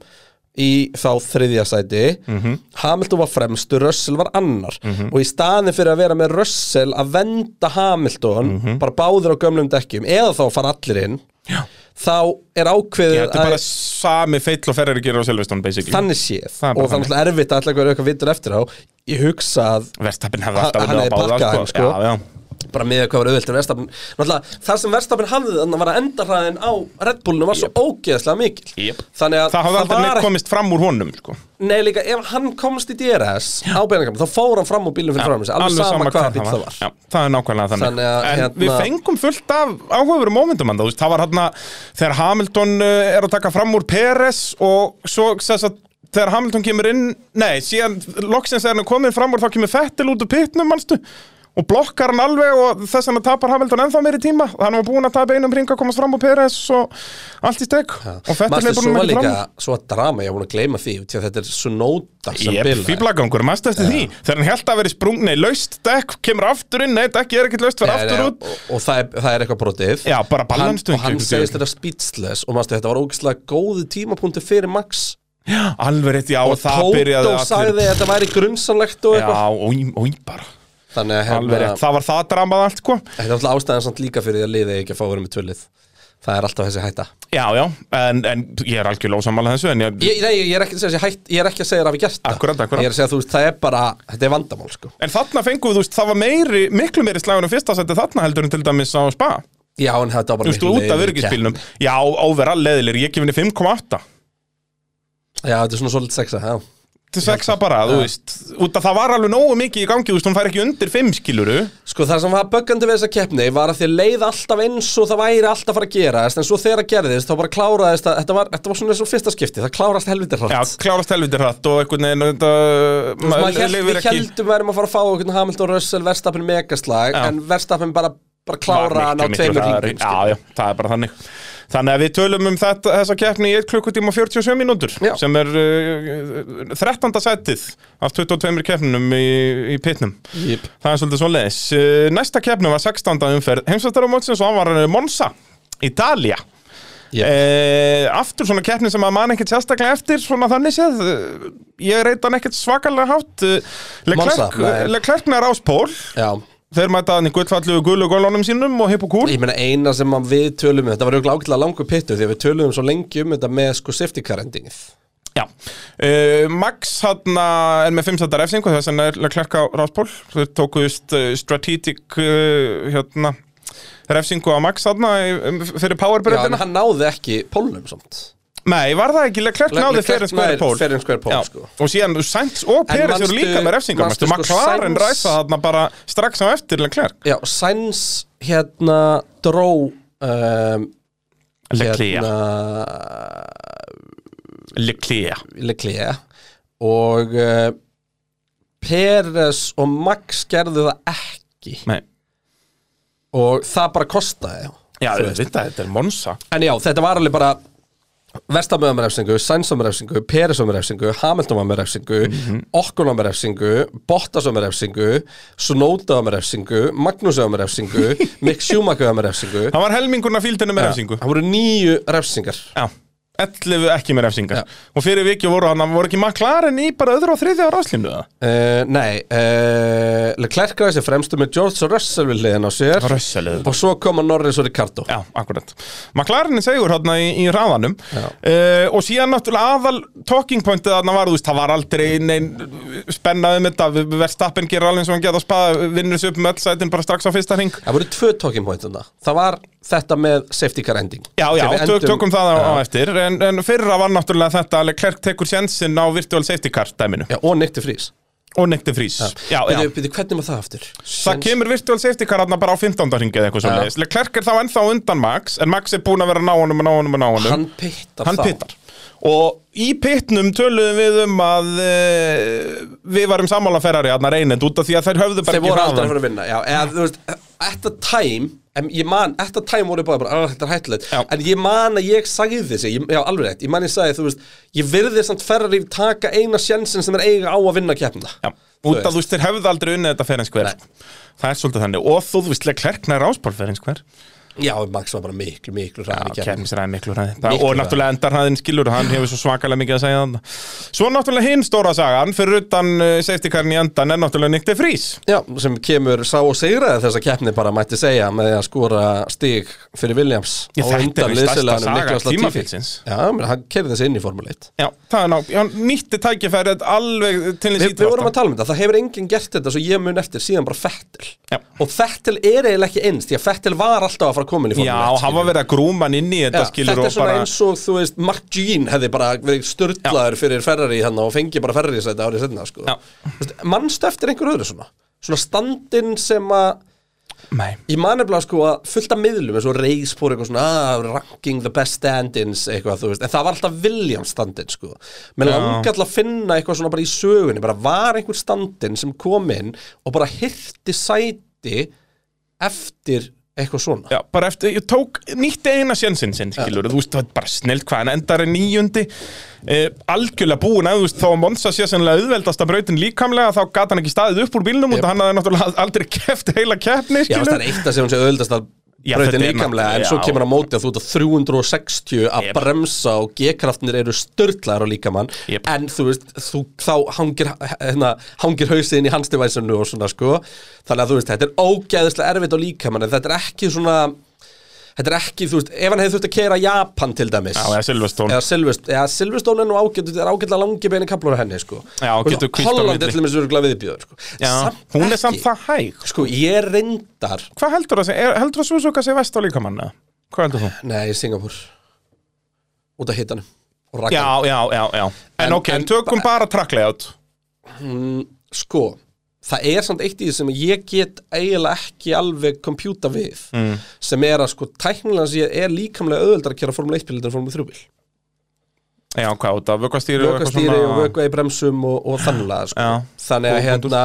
í þá þriðja sæti
Mhm.
Hamilton var fremstur, Russell var annar og í staðin fyrir að vera með Russell að venda Hamilton bara báður á gömlum dekkjum eða þá fara allir inn
Mhm. Já.
þá er ákveðið
Þetta er bara sami feill og ferri gerir á Silveston, basically.
þannig séð
Það er bara
og þannig er erfitt að ætla eitthvað eitthvað vitur eftir á ég hugsa að
Verstappin hefði alltaf
Hann-
verið
hann
að
hefði
báða,
pakkað hann, sko.
Já, já.
bara með hvað var auðvelt en verðstafn náttúrulega það sem verðstafn hafði þannig var að endarhraðin á Red Bullinu var svo ógeðslega mikil
Jep.
þannig að
Það hafði aldrei
var
neitt
ekki-
komist fram úr honum, sko.
Nei, líka ef hann komst í DRS á beinangamma þá fór hann fram úr bílum fyrir fram alveg, alveg sama,
hver
hvaða bíl það var
Já, það er nákvæmlega þannig,
Þannig að,
En
hérna-
við fengum fullt af áhugaveru mómentum hann, veist, Það var hann að þegar Hamilton uh, er að taka fram úr Peres og svo sess að þegar Hamilton kemur inn Nei, síðan loksins er hann komin fram úr þá kemur Fettil út úr pitnum, manstu og blokkar hann alveg og þess að tapar Hamilton ennþá meiri tíma, hann var búin að tapa einum ring að komast fram úr Peres og allt í steg og Fettil
Mastu,
er
svo
búin
var
að meira
líka
fram úr
svo að drama, ég var búin að gleyma því því að þetta er svo nóta sem
Ég er
bilaði.
fýblagangur, mæstu eftir því Þegar hann held að veri sprung, nei, laust dekk Kemur aftur inn, nei, dekki er ekkert laust Verð
Nei, nei,
aftur út
og, og það, er, það er eitthvað brotið
Já,
Og
bara
hann,
balansstöngi
og hann
einhvern
segist
veginn.
þetta speechless og mastu, þetta var ógeðslega góði tímapunktu fyrir Max
Alveg rétt, já,
og
það byrjaði
Tótó sagði
allir
að þetta væri grunnsanlegt og
Já,
eitthvað
og og bara
þannig að
Alveg
hérna,
rétt, það var það dramað allt, sko
þetta er alltaf ástæðan samt líka fyrir því að liðið ekki að fá verið með tvölið það er alltaf þessi hætta
Já, já, en, en ég er algjörlega ósammála þessu En ég,
ég, nei, ég, er ekki, að segja þessi hætt, ég er ekki að segja það hafi gert það
Akkúrat, akkúrat.
ég er að segja þú veist, það er bara, þetta er vandamál sko.
En þarna fengum við, þú veist, það var meiri, miklu meiri slagunum fyrsta sætti þarna heldur en til dæmis á spa
já, en þetta var
Þú
bara
veist, út af
leiðinleg
örgisbílnum Já, overall leðilir, ég gef henni 5,8
keppni. já, þetta er svona svolítið sexa já.
Til sexa bara, þú veist Út af það var alveg nógu mikið í gangi, þú veist, hún fær ekki undir 5 skiluru
sko, það sem var böggandi við þessa keppni var að þið leið alltaf eins og það væri alltaf að fara að gerast en svo þegar það gerðist, þá bara kláraðist að, þetta, var, þetta var svona eins og fyrsta skipti, það klárast helviti
Já,
hratt
klárast helviti hratt og einhvern veginn þetta,
Maður held,
lifir
við heldum verðum að fara að fá okkur Hamilton Russell Verstappen megaslag
Já.
en Verstappen bara, bara klára hann á
Var miklu, miklu
tveimur
hraðari.
hringum sko.
Já, já, það er bara þannig Þannig að við tölum um þetta, þessa keppni í 1 klukkutíma og 47 mínútur
Já.
sem er uh, 13. sætið af 22 keppnum í, í pitnum
Jep.
Það er svolítið svoleiðis Uh, Næsta keppnum var 16. umferð heimsvættara mótsins og hann var uh, Monza Ítalía
Jep.
Eh, aftur svona keppni sem að man ekkert sérstaklega eftir svona þannig séð Eh, ég reyta hann ekkert svakalega hátt Eh, Leclerc
Monza, nei.
Leclerc nær áspól
Já,
Þeir mæta hann í gullfallu gullu gólunum sínum og hipp og kúl
Ég meina eina sem að við tölum um, þetta var auðvitað ágætlega langur pittur því að við tölum svo lengi um þetta með sko safety car endingið.
Já uh, Max hann er með 5 sættar efsingu þess vegna er Leclerc á ráspól Þeir tókuðust uh, strategic uh, hérna refsingu á Max þarna í- um, fyrir
Já, en
powerbreyfina
hann náði ekki pólnum samt.
Nei, var það ekki, Leclerc
Le-
náði
Leclerc
fyrir
nær
skværi pól
fair and square pole,
Já.
sko.
Og síðan Sainz og Peres eru
manstu-
líka með refsingar
manstu
Manstu,
sko
McLaren
Sainz-
ræsa þarna bara strax á eftir Leclerc
Já, Sainz hérna dró um, hérna
Leclerc
Leclerc og uh, Peres og Max gerðu það ekki
Nei,
og það bara kostaði.
já,
Þú veist.
þetta, þetta er Monza
En já, þetta var alveg bara Verstappen var með refsingu, Sainz var með refsingu, Peres var með refsingu, Hamilton var með refsingu, mm
Mhm.
var með refsingu, Bottas var með refsingu, Snóta var með refsingu, Magnús var með refsingu,
<laughs>
Mick Schumacher var með refsingu.
Hann var helmingurna fíldinu með refsingu
Það voru nýju refsingar.
Já, 11 ekki með refsingar
Já.
Og fyrir vikið voru hann, voru ekki McLaren í bara öðru og þriðja ráslínu það
Uh, nei, uh, Leclerc græði sér fremstu með George Russell við hliðin á sér
Rössalið
og svo koma Norris og Ricardo.
Já, akkurat McLaren er segur hann í, í ráðanum
Já.
uh, Og síðan náttúrulega aðal talking pointið þarna var, þú veist, það var aldrei nein spennaði um þetta Verstappen gerir alveg eins og hann geta spaða vinnur þessu upp með öll sætin bara strax á fyrsta hring
Það voru tvö talking point þarna. Það var þetta með safety car ending.
Já, já,
Þegar við
tök,
endum-
tökum það á, á eftir en, en fyrra var náttúrulega þetta að Leclerc tekur sjensinn á virtual safety car dæminu
Já, og Nick de Vries.
og nekti frís Já, já,
Byrju, byrju, hvernig var það aftur?
Það kemur virtual safety car hann bara á 15. ringið eitthvað svo leiðis Leclerc er þá ennþá undan Max En Max er búin að vera að ná honum og ná honum og ná honum
Hann pittar
Hann
þá
pittar Og í pittnum töluðum við um að e, Við varum sammála Ferrari hann reynend út af því að þær höfðu bara
Þeir
ekki
voru aldrei að
hraðan
fara að vinna Já, eða þú veist At the time em, Ég man At the time voru bara, bara "Ah, Þetta er hættulegt
Já.
En ég man að ég sagði þessi ég, Já, alveg rétt Ég man ég sagði þú veist Ég virði samt Ferrari taka eina sjensin sem er eiga á að vinna keppna
Já, út af þú veist þeir höfðu aldrei unnið þetta Ferenc hver Það er svolítið þannig Og þú þú veist Leclerc nær áspál Ferenc hver
Já, Max var bara miklu, miklu hraðar í
Já,
keppni
keppnisræði miklu ræði
Miklu
og
hraði.
náttúrulega endar hraðin skilur hann hefur svo svakalega mikið að segja þannig svo náttúrulega hinn stóra sagan fyrir utan uh, safety carin í endan er náttúrulega Nick de Vries
Já, sem kemur sá og sigraði þessa keppni bara mætti segja með því að skora stig fyrir Williams á
Ég, þetta er
undan
víst stærsta
liðsfélaganum
saga
Nicolas Latifi.
tímabilsins.
Já, menn, hann kerði þessi inn í Formule 1
já, það er ná, já, nýtti tækifærið alveg til
Við,
þess
við vorum að tala um þetta, það hefur enginn gert þetta svo ég mun eftir síðan bara Fettel
Já.
og Fettel er eiginlega ekki eins því að Fettel var alltaf að fara að koma inn í
já,
Formule 1
hann var verið að grúma hann inn í þetta
um Já,
skilur
þetta er
og
svona
bara
eins og þú veist Mark Jean hefði bara verið störtlaður fyrir Ferrari hann og fengi bara Ferrari sæti árið setna sko.
Já.
Þú veist, Manstu eftir einhver öðru svona svona standinn sem að
nei,
ég man nefnilega sko að fullt af miðlum eins og reispor eitthvað svona ah, ranking the best standins eitthvað þú veist en það var alltaf Williams standin sko mér langar alltaf að finna eitthvað svona bara í sögunni bara var einhver standin sem kom inn og bara hirti sæti eftir eitthvað svona
Já, bara eftir, ég tók nýtt eina sjensin sinn, skilur, þú veist, það er bara snilt hvað hann endar er nýjundi eh, algjörlega búin að, þú veist, þá að Monsa sé sennilega auðveldasta brautin líkamlega, þá gat hann ekki staðið upp úr bílnum yep. og hann hafði náttúrulega aldrei <laughs> keft heila keppni,
Já, það
skilur
er eitt að segja hún sé auðvitað að
Já,
brautin
þetta er
líkamlega en
náttúrulega-
svo
já.
kemur að móti að þú ert að 360 að
Jep.
bremsa og g-kraftnir eru störtlaðar á líkamann
Jep.
en þú veist, þú, þá hangir, hérna, hangir hausið inn í handstivæsinu og svona sko þannig að þú veist, þetta er ógæðislega erfitt á líkamann en þetta er ekki svona þetta er ekki, þú veist, ef hann hefði þurft að keira Japan til dæmis
Já, eða Silverstone.
eða Silvest, eða Silveston er nú ágætt er ágætlega langi beinu kaplar á henni sko
Já, getur hvílt á
Holland
milli.
er til dæmis verið glæðið bjöður sko.
Já, hún er samt það hæg
Sko, ég reyndar
Hvað heldur það, er, heldur það Suzuka sé vest á líkamanna? Hvað heldur þú?
Nei, Singapur Út af hitanum Og
Já,
rakkanum
já, já, já En,
En-
ok,
en-
tökum bara track layout
Sko, það er samt eitt í því sem ég get eiginlega ekki alveg kompjúta við mm. Sem er að sko, tæknilega séð er líkamlega auðveldar að kera Formule 1 bíl en Formule 3 bíl
Já, hvað út af, vökkastýri og eitthvað
Vökuastýri
svona-
og vökua í bremsum og, og þannlega sko.
Já.
Þannig að hérna,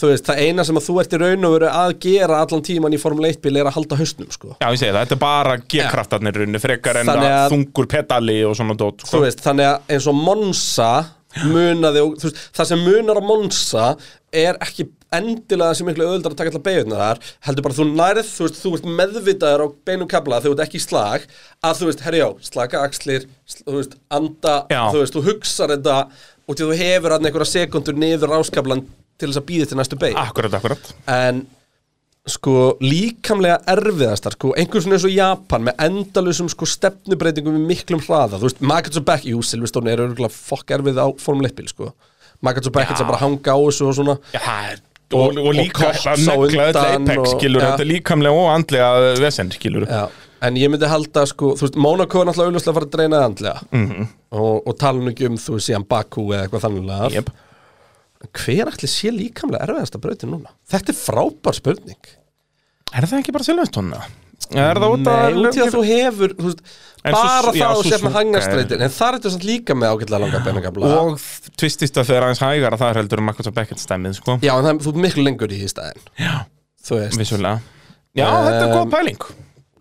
þú veist, það eina sem að þú ert í raun og veru að gera allan tíman í Formule 1 bíl er að halda hausnum sko.
Já, ég segi það, þetta er bara g-kraftarnir runni frekar en
Þannig
að
að-
þungur pedali og svona dót sko.
þú veist, þannig að eins og Monsa munaði og þú veist, það sem munar á Monsa er ekki endilega þessi miklu öðuldar að taka allar beigurnar þar heldur bara þú nærð, þú veist, þú ert meðvitaður á beinum kabla þegar þú ert ekki í slag að þú veist, herjá, slaka axlir sl þú veist, anda,
Já.
þú veist, þú hugsar þetta og því þú hefur hann einhverja sekundur niður ráskablan til þess að býða til næstu beig
Akkurat, akkurat
en sko líkamlega erfiðastar sko, einhvern svona eins og Japan með endalusum sko stefnubreitingum með miklum hraða þú veist, Magats og Beck, jú, Silveston er örgulega fokk erfið á Formule 1 bíl sko Magats og Beck er
Já.
sem bara hanga á þessu og svona
Já, það er Og, og líka
og
þetta
kops á
negla þetta
undan
apex,
og-
skilur,
ja.
þetta er líkamlega og andlega vesen, skilur
Já. en ég myndi halda sko, þú veist, Monaco er náttúrulega auðvitað að fara að dreina það andlega
Mhm.
-hmm. og, og tala nú ekki um þú veist, síðan Baku eða eitthvað þannig
Jep.
hver ætli sé líkamlega erfiðasta brautin núna? Þetta er frábær spurning
Er það ekki bara Silvestóna? Er það út að
Nei, út í að þú hefur þú veist,
En
bara
svo- já,
það að
svo
þú sér með
sjúka
hangarstreitin en það er þetta samt líka með ágætlega langa beinagabla
Og tvistist að þegar aðeins hægara það er heldur um Marcus og Beckett stemmið, sko
Já, en það, þú ert miklu lengur í því staðin
Já,
Þú veist,
vissulega Já, þetta er góð pæling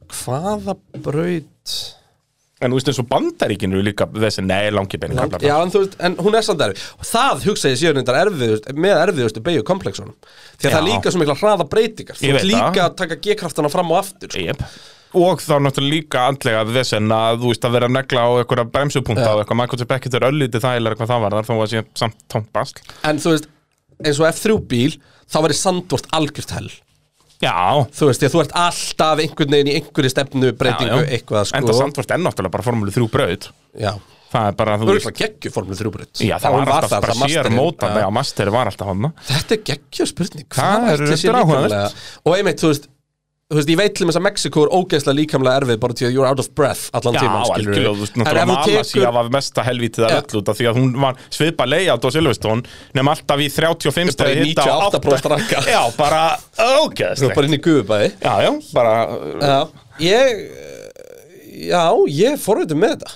hvaða braut
En þú veist eins og bandaríkinu líka þessi, nei, langi beinu
Land,
kaplar
já, en, þú veist, en hún er samt erfið og það hugsa ég síðan reyndar erfiðust, með erfiðustu beigju komplexunum því að það er
Já.
líka svo mikla hraða breytingar þú
Ég
ert
veit
líka
það.
að taka g-kraftana fram og aftur sko.
Jep. Og þá náttúrulega líka andlega vesen að þú veist að vera að negla á einhverja bremsupunkta og eitthvað, Michael J. Beckett er öllítið þægilega hvað það var þar, þó að sé samt tómt basl
en þú veist, eins og F3 bíl þá verður sandvort algjört hell
Já,
þú veist, því að þú ert alltaf einhvern veginn í einhverju stefnu breytingu eitthvað sko
Enda Sandvort er náttúrulega bara formúlu 3 braut
Já.
Það er bara, þú
Örgulega geggju formule 3 braut
Já, það
Hún
var alltaf
þar,
bara
það
sér
masterinn.
mótan
Já.
Já, master var alltaf hann
Þetta er geggju spurning
Það
Hvað
er
ætli sé
reyndar áhugavert.
líkamlega? Og einmitt, þú veist Þú veist, ég veit til þess að Mexiko er ógeðslega líkamlega erfið bara til að you're out of breath allan
Já,
tíman, skilur
algjörlega, þú veist, náttúrulega Malasía var mesta helvítið að
Já.
öll út af því að hún var svipa leiðat á Silveston nema alltaf í 35
Bara í
stæði hitta á
98% rakka.
Já, bara,
Þú er
ógeðslega
bara inn í gufubæði
Já, já, bara,
Já, ég eh, Já, ég er forvitum með þetta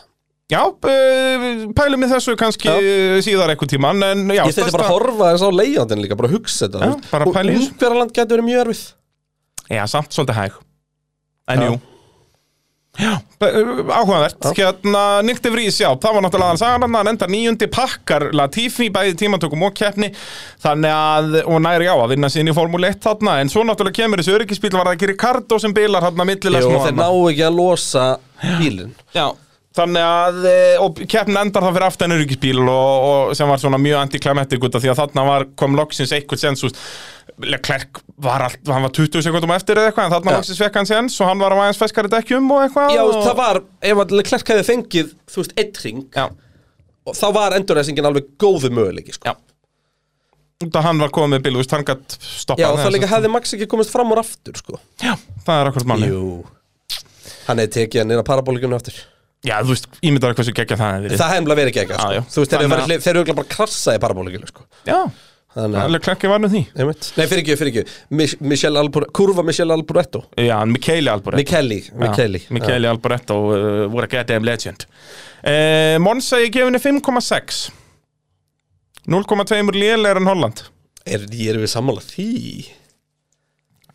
já, eh, pælum við þessu kannski eh, síðar einhvern tíman En já,
Ég þurfti bara að horfa þess á leiðandinn líka, bara að hugsa þetta
Já,
þú veist.
bara
Og
pæla í þessu.
Ungverjaland getur verið mjög erfið
Já, samt svolítið hæg En
Já.
jú Já, b- áhugavert Hérna, Nick de Vries, já, það var náttúrulega hann sagði hann, hann endar nýjundi pakkar Latifi, bæði í tímatökum og keppni þannig að, og næri á að vinna sín í Formule 1 þarna, en svo náttúrulega kemur þessi öryggisbíl var það ekki Ricardo sem bilar hann að millilega
Jú, þeir ná ekki að losa bílinn
Já, þannig að e, og keppnin endar það fyrir aftan öryggisbíl og, og sem var svona mjög antiklimatik út af því að þarna var, kom loksins eitthvað sens úst, Leclerc var allt, hann var 20 sekundum eftir eða eitthvað, en þarna
Já.
loksins fekk hann sens og hann var á aðeins feskari dekkjum og eitthvað
Já, þú
og...
veist, það var, ef allir klerk hefði fengið, þú veist, eitt ring
Já,
og þá var endurreysingin alveg góðu möguleiki, sko.
Já. út af hann var komið með bíl, þú veist, hann gætt stoppað
Já, og það
þess
líka
að-
hefði Max ekki komist fram úr aftur, sko.
Já, það er akkurat máli
Jú. Hann hefði tekið hann inn á parabólikunum aftur.
Já, þú veist, ímyndar hversu geggja það hefði verið
Það hefði bara verið ekki ekki,
Já, já.
sko. Þú veist, þeir
Þannig
eru
að-
verið- þeir eru örugglega bara að krassa í parabólikunum, sko.
Já,
Þannig að,
alveg klekkið var nú því
einmitt. Nei, fyrir ekki, fyrir ekki. Mich Michelle Albur, kurva Michelle Alburetto.
Já, en Mikaeli Alboret
Mikkelli, Mikkelli.
Mikaeli Alboretto uh, voru að geta um legend uh, Monsa ég gefinni 5,6 0,2 lélegar en Holland
Er, ég er við sammála því.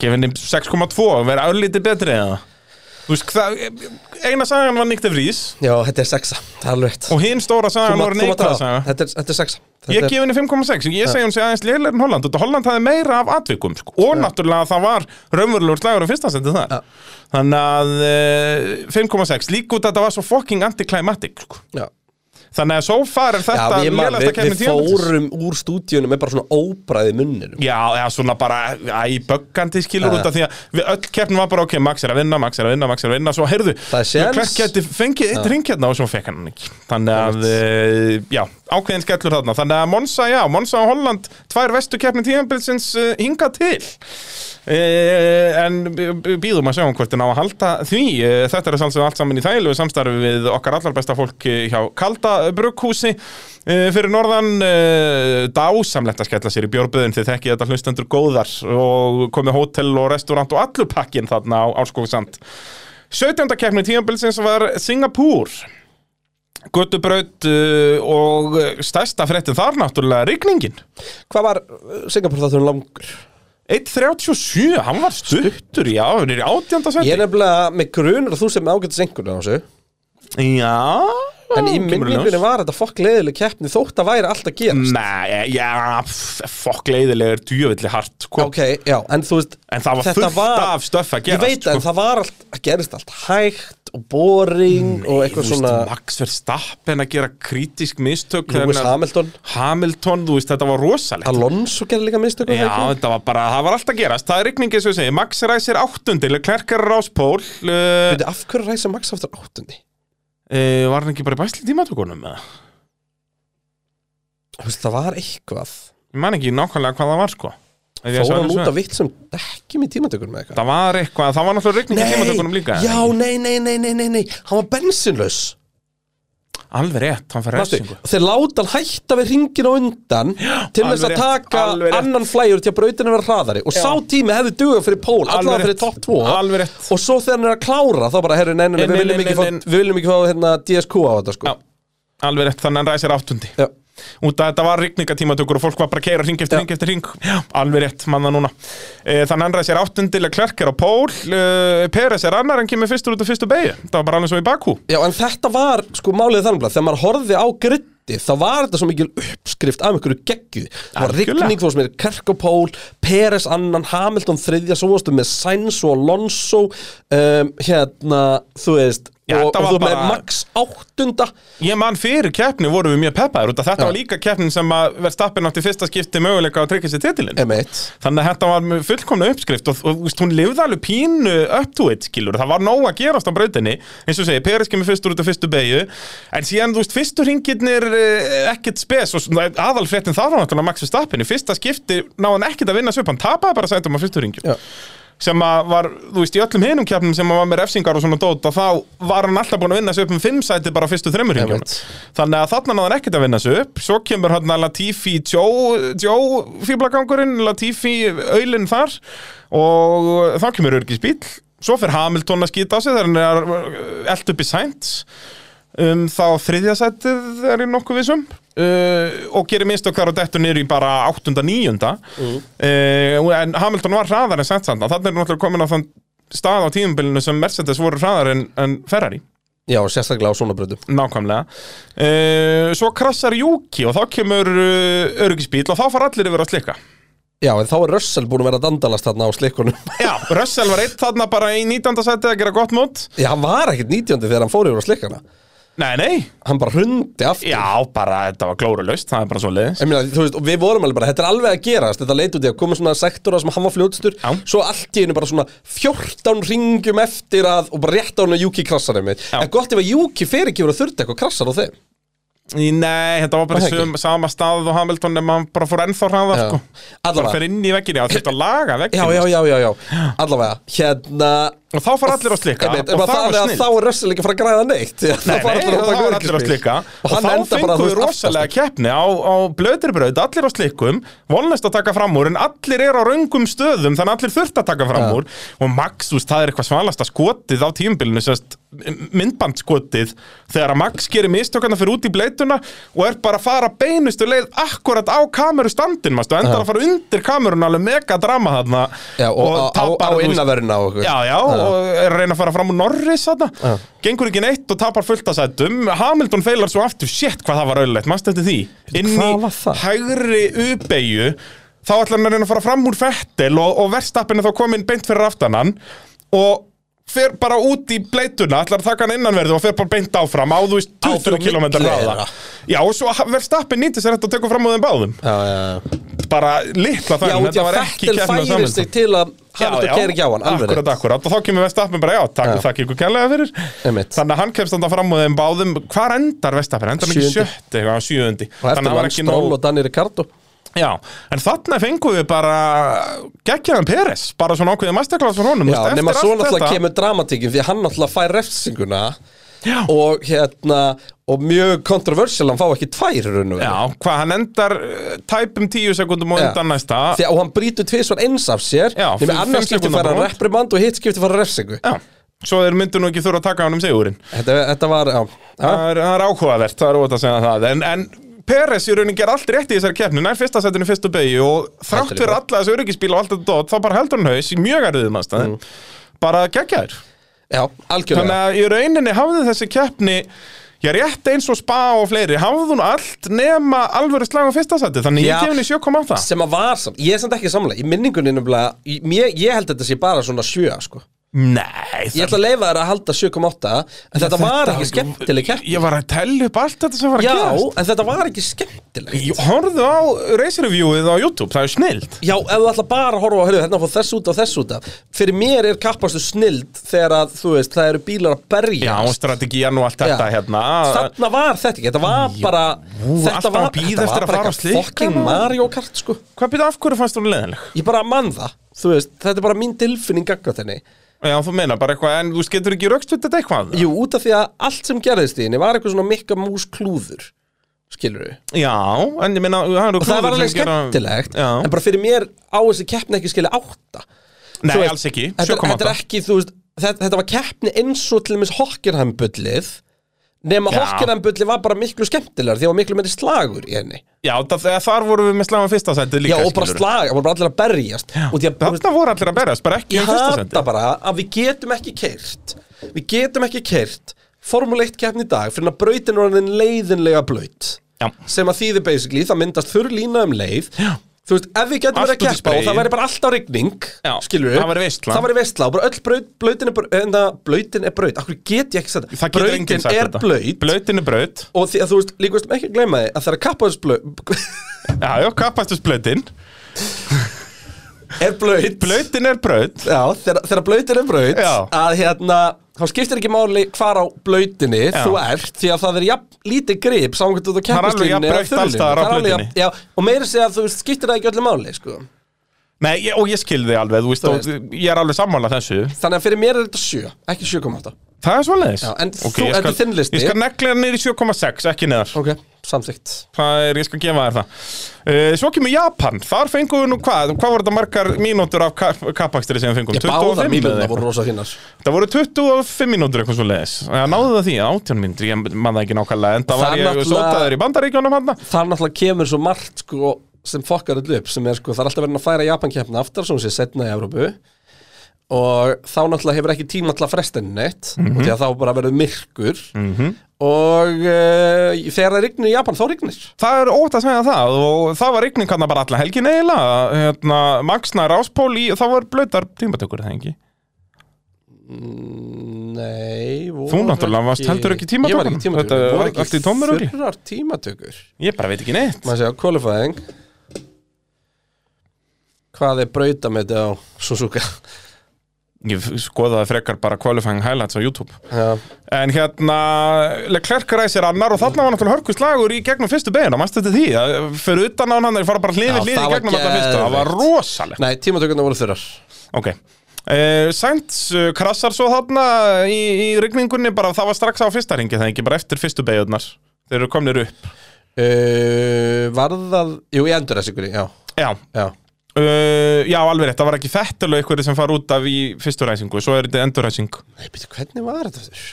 gefinni 6,2 verið álítið betri eða Þú veist, það- eina sagan var Nick de Vries
Já, þetta er sexa. Það er alveg rétt.
og hinn
Þú
stóra sagan
mátt-
var
þú mátt
neikvæða
hafa.
saga
Þetta er- þetta er sexa.
Ég
Þetta er-
gef henni 5,6, ég segi hún sé aðeins lélegar en Holland og Holland hafði meira af atvikum sko. og náttúrulega að það var raunverulegur slagur á fyrsta seti þar þannig að eh, 5,6 líka út að þetta var svo fucking anticlimatic sko.
Já.
þannig að so far er
Já,
þetta
ég man,
lélegasta
við,
kemni
við fórum úr stúdíunum með bara svona óbræði munninum
Já, eða svona bara æ, böggandi skilur
Já.
út af því að við öll keppnum var bara ok, Max er að vinna, Max er að vinna, Max er að vinna svo heyrðu,
Það er séns.
Leclerc geti fengið eitt ring hérna og svo fekk hann hann ekki þannig að, e, já, ákveðin skellur þarna þannig að Monsa, já, Monsa og Holland tvær vestu keppni tíðanbilsins uh, hinga til e, en b- b- býðum að sjáum hvort er ná að halda því, e, þetta er sannsum allt saman í þægilegu samstarfi við okkar allar besta fólk eh, hjá Kalda Brukhúsi Eh, fyrir norðan uh, dásamlegt að skella sér í björböðin þið þekkið þetta hlustendur góðar og komið hótel og restaurant og allur pakkin þarna á Árskóksand 17. keppni tíðanbilsins var Singapúr Götubraut uh, og stærsta fréttin þar náttúrulega rigningin
Hvað var Singapur þátturinn langur?
1.37, hann var stuttur, já, hann er í 18.
Ég
seti
er nefnilega með grunur að þú sem ágættis einhvern á þessu
Já,
En í
kemur í ljós. Mm.
minningunni var þetta fokk leðileg keppni þótt að væri allt að gerast
Nei, já, f- fokk leiðilegur djöfulli hart sko.
Ok, já, en þú veist
En það var
þetta
fullt af stöff að
Ég
gerast,
veit
sko.
en það var allt, að gerist allt hægt og boring og eitthvað
Mm, Þú veist,
sko, svona
Max Verstappen að gera kritísk mistök
Lewis
þannig að-
Hamilton,
Hamilton, þú veist, þetta var rosalegt
Alonso gerði líka mistökum
Já, þetta var bara, það var allt að gerast Það er rigningi, svo ég segi, Max ræsir áttundil Klerkar ráspól uh,
Af hverju ræsa Max aftur áttundi?
uh, Var hann ekki bara í bæsli tímatökunum? eða?
Þú veist, Það var eitthvað
Ég man ekki nákvæmlega hvað það var, sko Ef ég
Fór
sagði
hann út
þessu.
af vitt sem dekkjum í tímatökunum með eitthvað
Það var eitthvað, það var náttúrulega rigningi í tímatökunum líka
já, nei, nei, nei, nei, nei, nei Hann var bensinlaus
Alveg rétt, hann fær
Manstu?
refsingu
Og Þeir láta hann hætta við ringin á undan Til
alveg
þess að
rétt,
taka
alveg rétt.
annan flægur til að brautinu vera hraðari Og sá tími hefði dugað fyrir pól Allavega
Alveg
fyrir
rétt,
topp 2
alveg rétt.
Og svo þegar hann er að klára Þá bara, herru, nei, nei, nei, við
Nei, nei,
viljum
nei,
ekki
nei,
fá-
nei.
við viljum ekki fá hérna, DSQ á þetta
Já,
sko
alveg rétt, þannig að hann ræsir áttundi
Já.
Út að þetta var rigningatímatökur og fólk var bara að keira ring eftir
Já.
ring eftir ring Já, alveg rétt, manna núna e, Þannig að hann ræsir áttundilega klerkir á pól e, Peres er annar, hann kemur fyrstur út af fyrstu beigju Það var bara alveg svo í Bakú
Já, en þetta var, sko, málið þannig Þegar maður horfði á gritti Þá var þetta svo mikil uppskrift af einhverju geggju Það var
Algjörlega.
rigning, þú veist mér, Kerkopól Peres annan, Hamilton þriðja Svo varstu með Sainz og Alonso um, Hérna, þú veist
Já,
Og, og
þetta var
þú bara... með
bara-
Max áttunda
Ég man fyrir keppni vorum við mjög peppaður út að þetta
Já.
var líka keppnin sem að Verstappen átti fyrsta skipti möguleika að tryggja sér titilin
M1
Þannig að þetta var fullkomna uppskrift og, og þú veist, hún lifði alveg pínu up to it, skilur. Það var nóg að gerast á brautinni, eins og segi, Peres kemur fyrstur út af fyrstu beigju, en síðan, þú veist, fyrstu ringirnir ekkert spes og svona aðalfréttin þar var náttúrulega Max Verstappen. Í fyrsta skipti náði hann ekkert að vinna sig upp, hann tapaði bara sætum á fyrstu ringjum.
Já.
Sem að var, þú veist, í öllum hinum keppnum sem að var með refsingar og svona dót, að þá var hann alltaf búin að vinna sig upp um fimm sæti bara á fyrstu þremur ringjum.
Einmitt.
Þannig að þarna náði hann ekkert að vinna sig upp Svo kemur hann að Latifi Joe, Joe fýblagangurinn Latifi auðlinn þar Og þá kemur örgisbíl Svo fer Hamilton að skýta á sig Þegar hann er eld upp í sænt um, Þá þriðja sætið er í nokkuð vissum uh, Og gerir mistök þar og dettur niður í bara áttunda, níunda uh, En Hamilton var hraðar en sænt þarna Þannig er hann náttúrulega komin á þann stað á tímubilinu sem Mercedes voru hraðar en, en Ferrari
Já, sérstaklega á svona bröndum
Nákvæmlega uh, Svo krassar Juki og þá kemur uh, örgisbíl og þá fara allir yfir að slikka
Já, en þá er Russell búin að vera að dandalast þarna á slikkunum <laughs>
Já, Russell var eitt þarna bara í 19. seti að gera gott mót
Já, hann var ekkert 19. þegar hann fór yfir á slikkana
Nei, nei,
Hann bara hrundi aftur
já, bara þetta var glórulaust, það er bara svo leiðis
Ég meina, þú veist, og við vorum alveg bara, þetta er alveg að gerast Þetta leit út í að koma svona sektora sem hann var fljótstur
Já.
Svo allt í einu bara svona 14 ringjum eftir að Og bara rétt á hann að Juki krassar einmitt
Já.
En gott ef að Juki fer ekki verið að þurrta eitthvað krassar á þeim
Nei, þetta var bara
Var það
sum, sama stað og Hamilton nema hann bara fór ennþá hraða
Já.
sko.
Allavega.
bara fer inn í vegginu, já, þetta laga
Já,
vegginu
já, já, já, já, allavega Hérna
og þá fara allir að slikka
Einmitt,
og
bara
það var
er að
snill
Þá er Russell ekki að fara að græða neitt <laughs> Nei,
Nei, nei, það var allir að slikka
Og
og,
hann
þá
enda bara,
fengu
þú
við
veist,
rosalega
aftast.
keppni á, á blöðirbröð, allir á slikkum vonlist að taka fram úr, en allir eru á röngum stöðum, þannig að allir þurft að taka fram
Já.
úr og Max, þú veist, það er eitthvað svalasta skotið á tímbilinu, sérst myndbandskotið, þegar að Max gerir mistökana fyrir út í bleituna og er bara að fara beinustu leið akkurat á kamerustandin, maður, endar að fara undir kamerun alveg mega drama þarna
Já, og, og á, á, á
þú veist,
innavöruna á okkur
Já, já, og er að reyna að fara fram úr Norris þarna,
Já.
gengur ekki neitt og tapar fullt að sætum, Hamilton feilar svo aftur shit hvað það var auðvitað, mannst eftir því inn
hvað var það?
í hægri uppeigju þá ætlar hann að reyna að fara fram úr Fettel og, og verstappin er þá komin beint fyrir aftanan og fer bara út í bleituna, ætlar að taka hann innanverðu og fer bara beint áfram á þú veist
Áfram
20 km
milli
ráða
þeirra.
Já, og svo verstappin nýtti sér þetta og tekur fram á þeim báðum
Já, já, já
bara litla
Já,
þannig,
út í
þetta
að
var ekki
Fettel
keppni á
færir
Hamilton
sig til að Hamilton kæri ekki á hann, alveg
akkurat,
rétt.
akkurat, og þá kemur Vestappen bara, já, takk
Já.
og þakk ykkur kærlega fyrir
Einmitt.
þannig að hann kemst þannig fram og þeim báðum hvar endar Vestappen, endar hann ekki
Sjöundi.
sjötti eitthvað, sjöundi,
Og eftir
að
var hann Stroll og Danny Ricardo
já, en þannig fengum við bara geggjaðan Peres, bara svona ákveðið masterclass frá honum,
Já,
þú veist,
nema
eftir
svo
allt
náttúrulega
þetta-
kemur dramatíkin því að hann náttúrulega fær refsinguna
Já.
og hérna og mjög kontroversial, hann fá ekki tvær í raun og veru.
já, hvað, hann endar eh, tæpum tíu sekundum og
Já.
undan næsta
Því að- og hann brýtur tvisvar eins af sér
Já,
nema
fimm-
annars
fimm
skipti
sekúndna
fær hann
brot.
reprimand og hitt skipti fær hann refsingu
já, svo þeir myndu nú ekki þurfa að taka hann um sigurinn
þetta, þetta var, já, já,
Það er, það er áhugavert, það er óvægt að segja það En, en Peres í raunin ger allt rétt í þessari keppni Nær fyrsta setinu fyrstu beigju Og
Heldur
þrátt
í
fyrir
botn.
alla þessu öryggisbíl og allt þetta dot Þá bara heldur hann haus í mjög erfiðum aðstæðum
Mm.
Bara geggjaður
já algjörlega
Þannig að í rauninni hafði þessi keppni Já, rétt eins og spa og fleiri Hafði hún allt nema alvöru slag á fyrsta seti
Já.
Þannig ég gef henni 7,8
sem að var samt, ég er samt ekki samlega í minningunni nefnilega, í- mér, ég held þetta sé bara svona sjö, sko
Nei,
ég ætla að leifa þér að halda 7,8 en þetta var ekki skemmtileg keppni
Ég var að tella upp allt þetta sem var að
já,
gerast
en þetta var ekki skemmtileg
Ég Horfðu á race reviewið á YouTube, það er snild
Já, ef þú ætla bara að horfa á, heyrðu, hérna fór þess út og þess út af Fyrir mér er kappastu snild þegar að, þú veist, það eru bílar að berja
Já, og strategían og allt þetta hérna
Þarna var þetta ekki, þetta var bara Þetta
alltaf
var,
að bíða
þetta
eftir
var
að
bara
fara á
eitthvað fucking
slikkan.
Mario Kart, sko
Hvað byrja af hverju fannst hún leðileg?
Ég bara man það, þú veist, þetta er bara mín tilfinning gaggat henni
Já, þú meina bara eitthvað, en þú getur ekki raukstuð þetta eitthvað?
Jú, út af því að allt sem gerðist í henni var eitthvað svona mikka mús klúður Skilur við
Já, en ég meina, það eru
Og það
klúður
var alveg
sem gera-
skemmtilegt
Já,
En bara fyrir mér á þessi keppni ekki skilja átta
nei,
þú veist,
alls ekki,
þetta, er- þetta er
7,8
ekki, þú veist, þetta, þetta var keppni eins og til dæmis Hockenheim-bullið nema
Já.
Hockenheim-bullið var bara miklu skemmtilegar því það var miklu meiri slagur í henni
Já, það, þar vorum við með slagum fyrsta seti
Já,
líka
og bara
skilurðu.
slag, það voru bara allir að berjast og því að, þú veist,
Þarna voru allir að berjast, bara ekki um
ég
fyrsta seti
hata bara að við getum ekki keirt við getum ekki keirt Formule 1 keppni í dag fyrir að brautin var orðin leiðinlega blöyt
Já.
sem að þýði basically, það myndast þurr lína um leið Já. þú veist, ef við getum
Allt
verið að
út í
keppa og
sprayið.
það væri bara alltaf rigning
Já,
skilur
það væri veisla.
það væri veistla og bara öll braut, blöytin er bara en það, blöytin er braut, akkur get ég ekki sagt
Það getur enginn sagt
er
þetta
blöyt
Blöytin er braut
og því að þú veist, líka veist ekki að gleyma því að það er kappaðsblöyt
Já, já, kappastusblöytin
<laughs> er blöyt
Blöytin er braut
Já, þegar, þegar blöytin er braut
Já.
að hérna, þá skiptir ekki máli hvar á blöytinni
Já.
þú ert því að það er jafn, lítið grip saman hvernig þú
er alveg
keppist
jafn breitt alls staðar á blautinni.
Já, og meira segja að þú veist, skiptir það ekki öllu máli sko.
Nei, ég, og ég skil þig alveg, þú veist,
Þú
og, ég er alveg sammála þessu
Þannig að fyrir mér er þetta 7, ekki 7,8
Það er svoleiðis
Já, en
Ok,
þú-
ég
þetta er
skal-
þinn listi.
Ég skal negla hann niður í 7,6, ekki neðar
Ok, samþygt
Það er, ég skal gefa þér það uh, Svo kemur Japan, þar fengum við nú hvað Hvað voru þetta margar mínútur af kap kappakstri sem við fengum?
Ég báða
25 eða
mínuna
eitthvað?
voru rosa fínar
Það voru 25 mínútur eitthvað svo leiðis Náðu það því, 18 mínútur, ég man það ekki nákvæmlega En það
Það
var ég
náttúrulega-
sótaður í bandaríkjónum hann
Það náttúrulega kemur svo margt sko, sem fokkar allu upp sem er sko, það er alltaf verið að færa Japan keppna aftar sem sé setna í Evrópu og þá náttúrulega hefur ekki tíma til að fresta henni neitt og
Mhm.
því að þá bara verður myrkur og uh, þegar það rignir í Japan þá rignir
Það er ótt að segja það og það var rigning hann bara alla helgin eiginlega hérna, Magsna ráspól í og það var blöytar tímatökur er það ekki
Mm, Nei, voru
Þú náttúrulega varst heldur ekki tímatökum.
Ég var ekki tímatökum
Þetta
Voru
var
ekki
allt í tómu rugli.
Þurrar tímatökur
Ég bara veit ekki neitt
Maður sé á qualifying Hvað er brautameti á Suzuka
Ég skoðaði frekar bara qualifying highlights á YouTube
Já,
En hérna, Leclerc ræsir annar og þarna var náttúrulega hörkuslagur í gegnum fyrstu beina, mannstu þetta því, að fyrir utan á hann, þeir fara bara
Já,
hliði hliði
það var
gegnum alltaf fyrstu, það var
geðveikt.
rosalegt.
Nei, tímatökurna voru þurrar
Ok. Uh, Sainz eh, krassar svo þarna í, í rigningunni, bara það var strax á fyrsta ringi, það er ekki bara eftir fyrstu beigurnar, þeir eru komnir upp.
uh, Var það Jú, ég endur þessi ykkur, já,
Já,
já.
uh, já alveg rétt, það var ekki fettulega ykkur sem fara út af í fyrstu ræsingu, svo er þetta endurræsing.
Nei, býttu, hvernig var þetta þurr?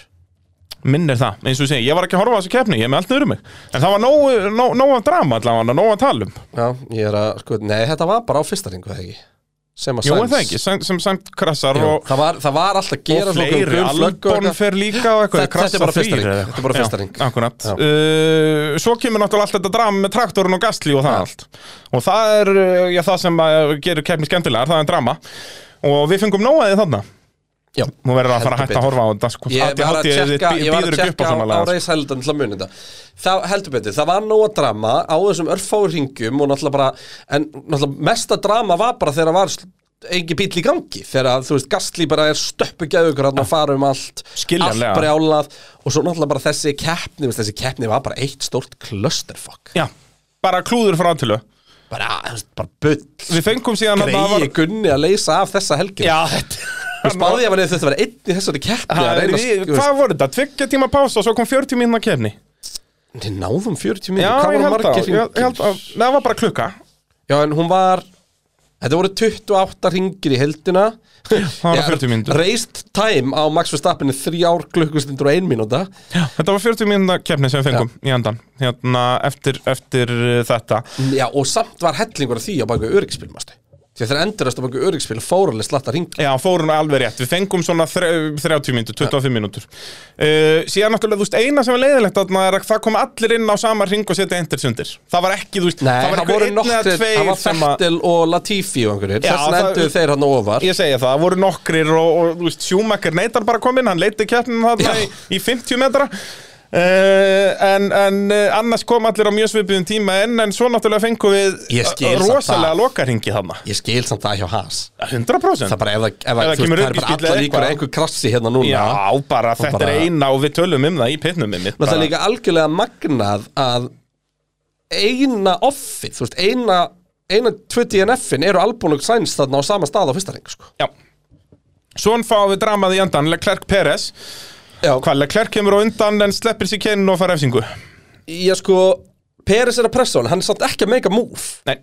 Minn er það, eins og ég segi, ég var ekki að horfa á þessu keppni, ég er með allt niður um mig. En það var nóg, nóg, nóg að drama allavega, nóg að tala um.
Já, ég er að, sko, nei, þetta var bara á fyrsta ringu, það ekki Sem að
Jú,
Sainz-
er það ekki, sem, sem samt krassar
Jú,
og,
það, var, það var alltaf að
og
gera svona um
fleiri,
gul flögg og
Albon
eitthvað.
fer líka og eitthvað,
Þetta- þetta er bara fyrsta ring, þetta er bara fyrsta ring.
Akkurat,
Já.
uh, svo kemur náttúrulega allt þetta drama með traktorinn og gasli og það allt Og það er, uh, já, það sem að gerir keppni skemmtilegar, það er drama Og við fengum nóaðið þarna
Já,
Nú verður að fara
Heldur
að hætta
betur.
að horfa á þetta sko
Ég var að
ADHD þitt
tjekka,
bý-
ég var að
býður ekki upp
tjekka
á svona
á, á
lagað, sko.
reishældan til að muni þetta Það heldur betur, það var nóga drama á þessum örfáu ringum og náttúrulega bara en náttúrulega mesta drama var bara þegar það var sl- engin bíl í gangi þegar að, þú veist, gastlí bara er stöppu gæðugur hann að fara um allt,
Skiljanlega.
allt brjálað og svo náttúrulega bara þessi keppni þú veist, þessi keppni var bara eitt stórt clusterfuck
Já, bara klúður frá til þau
bara, þú veist, bara bull
Við fengum síðan að það
greiði
var
gunni að leysa af þessa helgi
Já, þetta
og spáði ég að þetta verið einn í þessari keppni að
Það er
reyna
í,
að- þú veist,
hvað voru þetta? Tveggja tíma pása og svo kom 40 mínuna kefni
Við náðum 40 mínútur,
Já,
hvað
ég
voru
held, á,
margir
ég, ég held á,
hringir?
Nei, það var bara klukka
Já, en hún var Þetta voru 28 ringir í heldina
var 40 mínútur.
Raised time á Max Verstappen er 3 ár klukkustundur og 1 mínúta
Þetta var 40 mínuna kefni sem við fengum í endan Hérna, eftir, eftir uh, þetta
Já, og samt var hellingur af því á baku öryggspil, mástu Því að þeir endurast á baku öryggspil fórulega slatta ringir
Já, fórun alveg rétt, við fengum svona þre- 30 mínútur, 25 mínútur uh, Síðan náttúrulega, þú veist, eina sem er leiðilegt þarna er að það kom allir inn á sama ring og setja endur sundir Það var ekki, þú veist,
Nei,
það var
það
einhver
voru
einn eða
nokkrir, það var
tveir sem að
Fettel og Latifi og einhverjir
Já,
Þess vegna
það-
endur þeir hann ofar
Ég segja það, það voru nokkrir og, og þú veist, Schumacher neitar bara að koma inn, hann leiti keppnum þarna
Já.
í, í 50 metra uh, en, en uh, annars kom allir á mjög svipiðum tíma en, en svo náttúrulega fengum við eh,
Ég skil samt
rosalega
það.
lokaringi þarna
Ég skil samt það hjá Haas
100%
Það er bara, ef, ef, ef,
það
ef, ef,
kemur
það er bara
öryggisbíll
allar
eða
líkur
eitthvað.
að einhver krassi hérna núna
Já, bara þetta
bara-
er eina og við tölum um það í pinnum mitt
Það er
bara.
líka algjörlega magnað að eina offið, þú veist, eina eina 2DNF-in eru Albon og Sainz þarna á sama stað á fyrsta reng, sko.
Já Svon fáum við dramað í andan, Leclerc Peres
Já,
Hvað, Leclerc kemur á undan en sleppir sér kynn og fara efsingu
ég sko, Peres er að pressa hann, hann er samt ekki að make a move
Nei,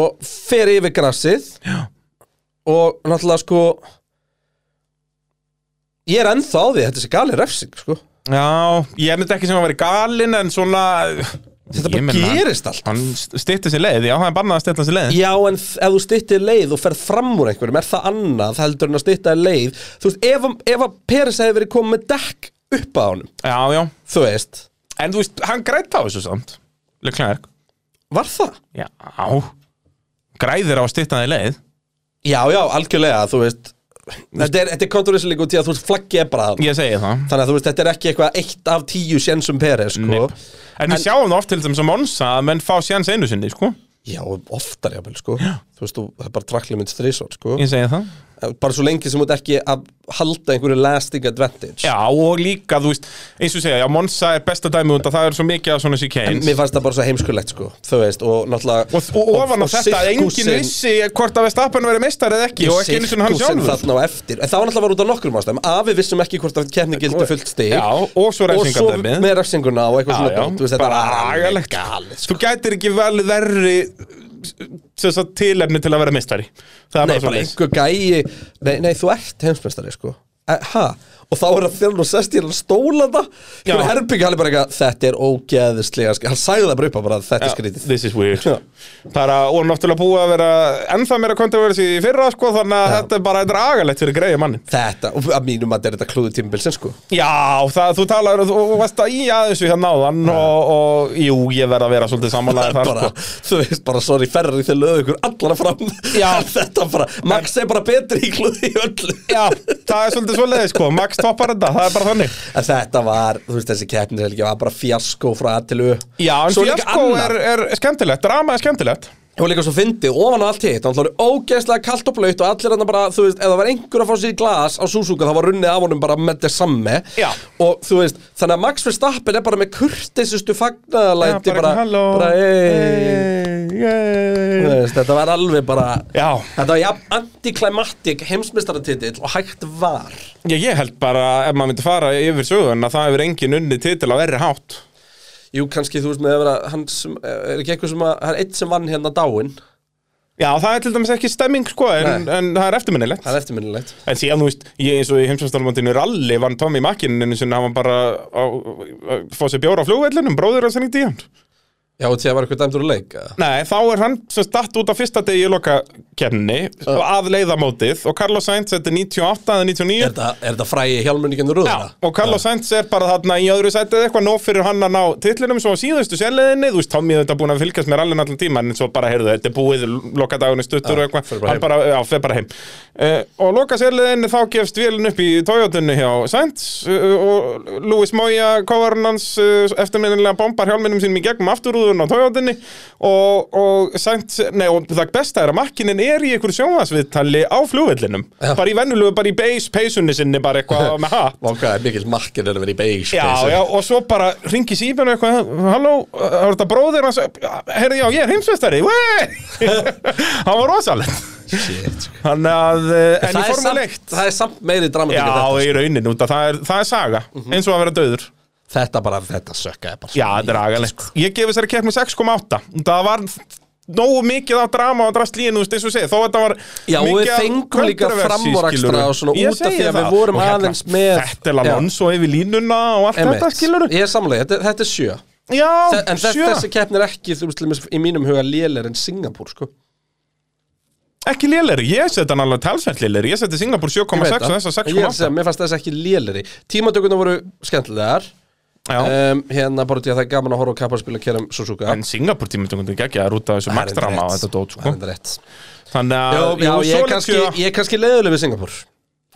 og fer yfir grassið Já. og náttúrulega sko ég er ennþá á því að þetta sé gali refsing, sko.
já, ég myndi ekki sem að vera galinn en svona
Þetta bara gerist allt.
Hann stýtti sér leið, já, hann er bannað að stýtta sér leið
Já, en þ- ef þú styttir leið og ferð fram úr einhverjum, er það annað heldur en að stytta þér leið? Þú veist, ef, ef að Peres hefði verið komið með dekk upp að honum,
Já, já,
þú veist,
en þú veist, hann grætt á þessu samt Leclerc
var það?
Já Græðir á að stýtta þér leið
Já, já, algjörlega, þú veist, þetta er, þetta er kontroversileg út í að þú veist, flaggi er bara það.
Ég segi það
Þannig að þú veist, þetta er ekki eitthvað eitt af tíu sénsum Peres, sko.
Nip. En við sjáum það oft til þessum Monsa að menn fá sjans einu sinni, sko
Já, oftar jáfnvel, sko. Þú veist, þú, það er bara tracklimit strísor, sko.
Ég segi það
Bara svo lengi sem þú ert ekki að halda einhverju lasting advantage.
Já, og líka, þú veist, eins og segja, já, Monsa er besta dæmi undan, það er svo mikið af svona
En
chicanes
mér fannst það bara svo heimskulegt sko Þú veist og náttúrulega
Og, og ofan á þetta, enginn
sirkusinn-
vissi hvort að Vestapen verið meistari eða ekki og ekki einu sinni hann
sirkusinn
sjálfur
þarna á eftir En það var náttúrulega var út af nokkrum ástæðum Að við vissum ekki hvort að keppni gildi fullt stig
Já, og svo
svo
refsingardæmið.
með refsinguna og eitthvað
Já,
svona
já,
dót, þú veist, Þetta
bara
var alveg
agalegt.
galið
Þú
sko.
gætir ekki vel verri sem sagt, tilefni til að vera meistari Það er
Nei,
bara svo
bara einhver gæi Nei, nei, þú ert heimsmeistari sko Eh, Ha? og þá er það þegar hann sest í hann stóla það
Já.
hvernig herbyggja hann er bara eitthvað þetta er ógeðislega sk-" hann sagði það bara upp að bara þetta er skrítið
This is weird
Já.
Bara, og náttúrulega búið að vera ennþá meira kontroversi í fyrra sko, þannig að þetta er bara þetta er agalegt fyrir greiði manni
þetta, og að mínum að þetta er þetta klúðu tímabilsin sko
Já, það, þú talar, þú, þú varst að í aðeins við hérna áðan og, og jú, ég verð að vera svolítið
<laughs>
samanlega þar
bara,
sko.
þú veist bara, sorry, ferri þeir löðu ykkur allara fram
Já.
<laughs> þetta bara, Max er bara betri í klúði í öllu
Já, það er svolítið svolítið sko, Max toppar þetta, það er bara þannig
En þetta var, þú veist, þessi keppnishelgi var bara fjasko frá að til u
Já, en
Svo líka
fjasko
annað.
er, er skemmtilegt, drama er skemmtilegt
Og líka svo fyndið, ofan á allt hitt, hann hlóði ógeðslega kalt og blöyt og allir hann bara, þú veist, ef það var einhver að fá sér í glas á Suzuka, þá var runnið af honum bara með þetta samme.
Já.
Og þú veist, þannig að Max Verstappen er bara með kurteisustu
Já,
fagnaðalæti, bara,
halló
bara, hey. Þú
hey, hey.
veist, þetta var alveg bara,
Já,
þetta var jafn antiklimatik heimsmyndstaratitill og hægt var.
Ég, ég held bara ef maður myndi fara yfir sögun að það hefur engin unni titil á erri hátt
Jú, kannski, þú veist, með að vera, hann sem, eh, er ekki eitthvað sem að, það er eitt sem vann hérna dáinn,
Já, það er til dæmis ekki stemming sko
Nei.
en, en það er eftirminnilegt
það er eftirminnilegt.
En síðan, þú veist, ég eins og í heimsvæmstálmóndinu ralli vann Tommy Makininu sem hann var bara að að fá sér bjóra á flugvellinum, bróður hans hann í hann
Já, og til að var eitthvað dæmdur að leika.
Nei, þá er hann sem statt út á fyrsta degi í loka kemni að leiða mótið og Carlos Sainz, þetta er 98 eða 99
Er þetta, er þetta frægi hjálmunningendur rúðuna?
Já, og Carlos Sainz er bara þarna í öðru sætið eitthvað nóg fyrir hann að ná titlinum svo á síðustu sérleðinni, þú veist, Tommy er þetta búin að fylgjast með allir allan tíma, en svo bara, heyrðu, þetta er búið lokadagunni stuttur
Já,
og eitthvað,
fer bara
hann
heim.
bara, já, fer bara heim uh, og loka sérleðinni þá gefst vélinn upp í Toyotunni hjá Sainz uh, og Louis Moya kóvarinn hans uh, eftirminnilega bombar hjálminum sínum í gegnum afturúðun á Toyotunni og, og Sainz, nei, og það besta er að makkinin er í einhverju sjónvarsviðtali á flugvellinum,
Já.
bara í vennulegu, bara í base peysunni sinni,
<laughs>
bara eitthvað með hatt
Vákaði mikil makkinn er að vera í beige
Já,
peysu.
já, og svo bara ringi sífinu eitthvað, halló, er þetta bróðir hans, herri, já, ég er heimsveistari, vei, <laughs> hann var rosalegt,
Shit. sko.
hann að, eh, en í
Það er,
formuleikt,
samt, það er samt meiri dramatík
já,
en þetta. sko.
í raunin, út að það er, það er saga, eins og að vera döður,
Þetta bara, þetta sko. sökkaði bara.
já, þetta er agalegt, ég gefi þessari keppni 6,8, það var nógu mikið á drama og drastlíinu, þú veist, eins og segið, þó þetta var
Já, og við
mikið af
fengum líka
kontroversi,
framúrakstra
skilurðu.
og svona
Ég
út af
segi
því að
það.
við vorum
Og
aðeins með-
Þetta er Alonso yfir línuna og allt
Einmitt.
þetta, skilur
Ég er samlega, þetta, þetta er sjö.
Já,
Þe- En þess,
sjö.
þessi keppn er ekki, þú veist, til dæmis í mínum huga lélir en Singapúr, sko.
Ekki lélæri, ég seti hann alveg talsvært lélæri Ég seti Singapur
Ég
7,6
veit
og
það.
þess að
En Ég er að
6,8
segja, mér fannst þess ekki lélir í. Tímatökuna voru skemmtilegar.
Já.
Um, hérna bara til að það er gaman að horfa á kapparspil að kera um Suzuka.
En Singapur tímutungundu ekki að rúta þessu magdrama og þetta
Það
dót sko
er enda rétt.
Þannig
Já, já,
að,
ég er
svoleiðis
kannski,
ég-
ég er kannski leiðileg við Singapúr.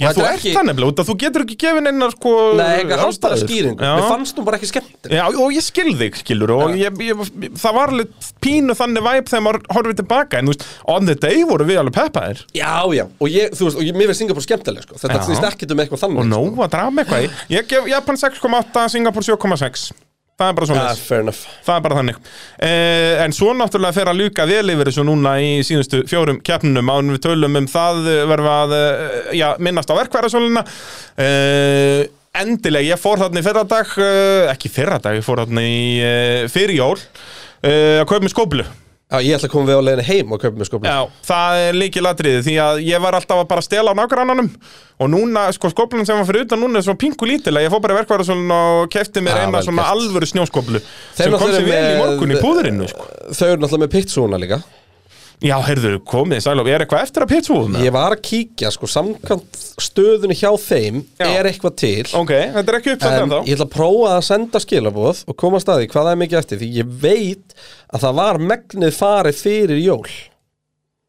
Já,
Þetta
þú
er
ert það nefnilega út að þú getur ekki gefin einnar sko
Nei, ekki haldbæra
ástæður.
skýringu
Já.
Mér fannst hún bara ekki skemmtileg
Já, og ég skil þig, skilur og ég, ég, það var alveg pínu þannig væp þegar maður horfið tilbaka en þú veist, on the day voru við alveg peppaðir
Já, já, og ég, þú veist, og ég, mér finnst Singapur skemmtileg sko. Þetta
Já.
snýst ekkert um eitthvað þannig
og nóg að drama eitthvað í. Ég gef Japan 6,8, Singapur 7,6 Það er bara
sko.
svona
ah, Fair enough
það er bara þannig eh, en svo náttúrulega fer að ljúka vel yfir þessu núna í síðustu fjórum keppnunum án við tölum um það eh, verðum að eh, já, minnast á verkværasóluna eh, endilega ég fór þarna í fyrradag eh, ekki fyrradag, ég fór þarna í eh, fyrirjól eh, að kaupa mér skóplu
Já, ég ætla að koma við á leiðinu heim og kaupa mér skóflu
Já, það er líkil atriði því að ég var alltaf að bara stela á nágrannanum og núna, sko, skóplan sem var fyrir utan núna er svona pingu lítilega, ég fór bara verkværa svona og kefti mér
Já,
eina
vel
svona
gert.
alvöru snjóskóplu
Þeir
sem kom sér
náttúrulega
vel í
með-
morgun í púðurinu, sko
Þau eru náttúrulega með pitsúna líka
Já, heyrðu, komið, sælof, er eitthvað eftir að pitsúðuna?
Ég var að kíkja, sko, samkvæmt stöðunni hjá þeim
Já.
er eitthvað til
Ok, þetta er ekki uppsett
En
ennþá
ég ætla að prófa að senda skilaboð og koma að staði hvað það er mikið eftir því ég veit að það var megnið farið fyrir jól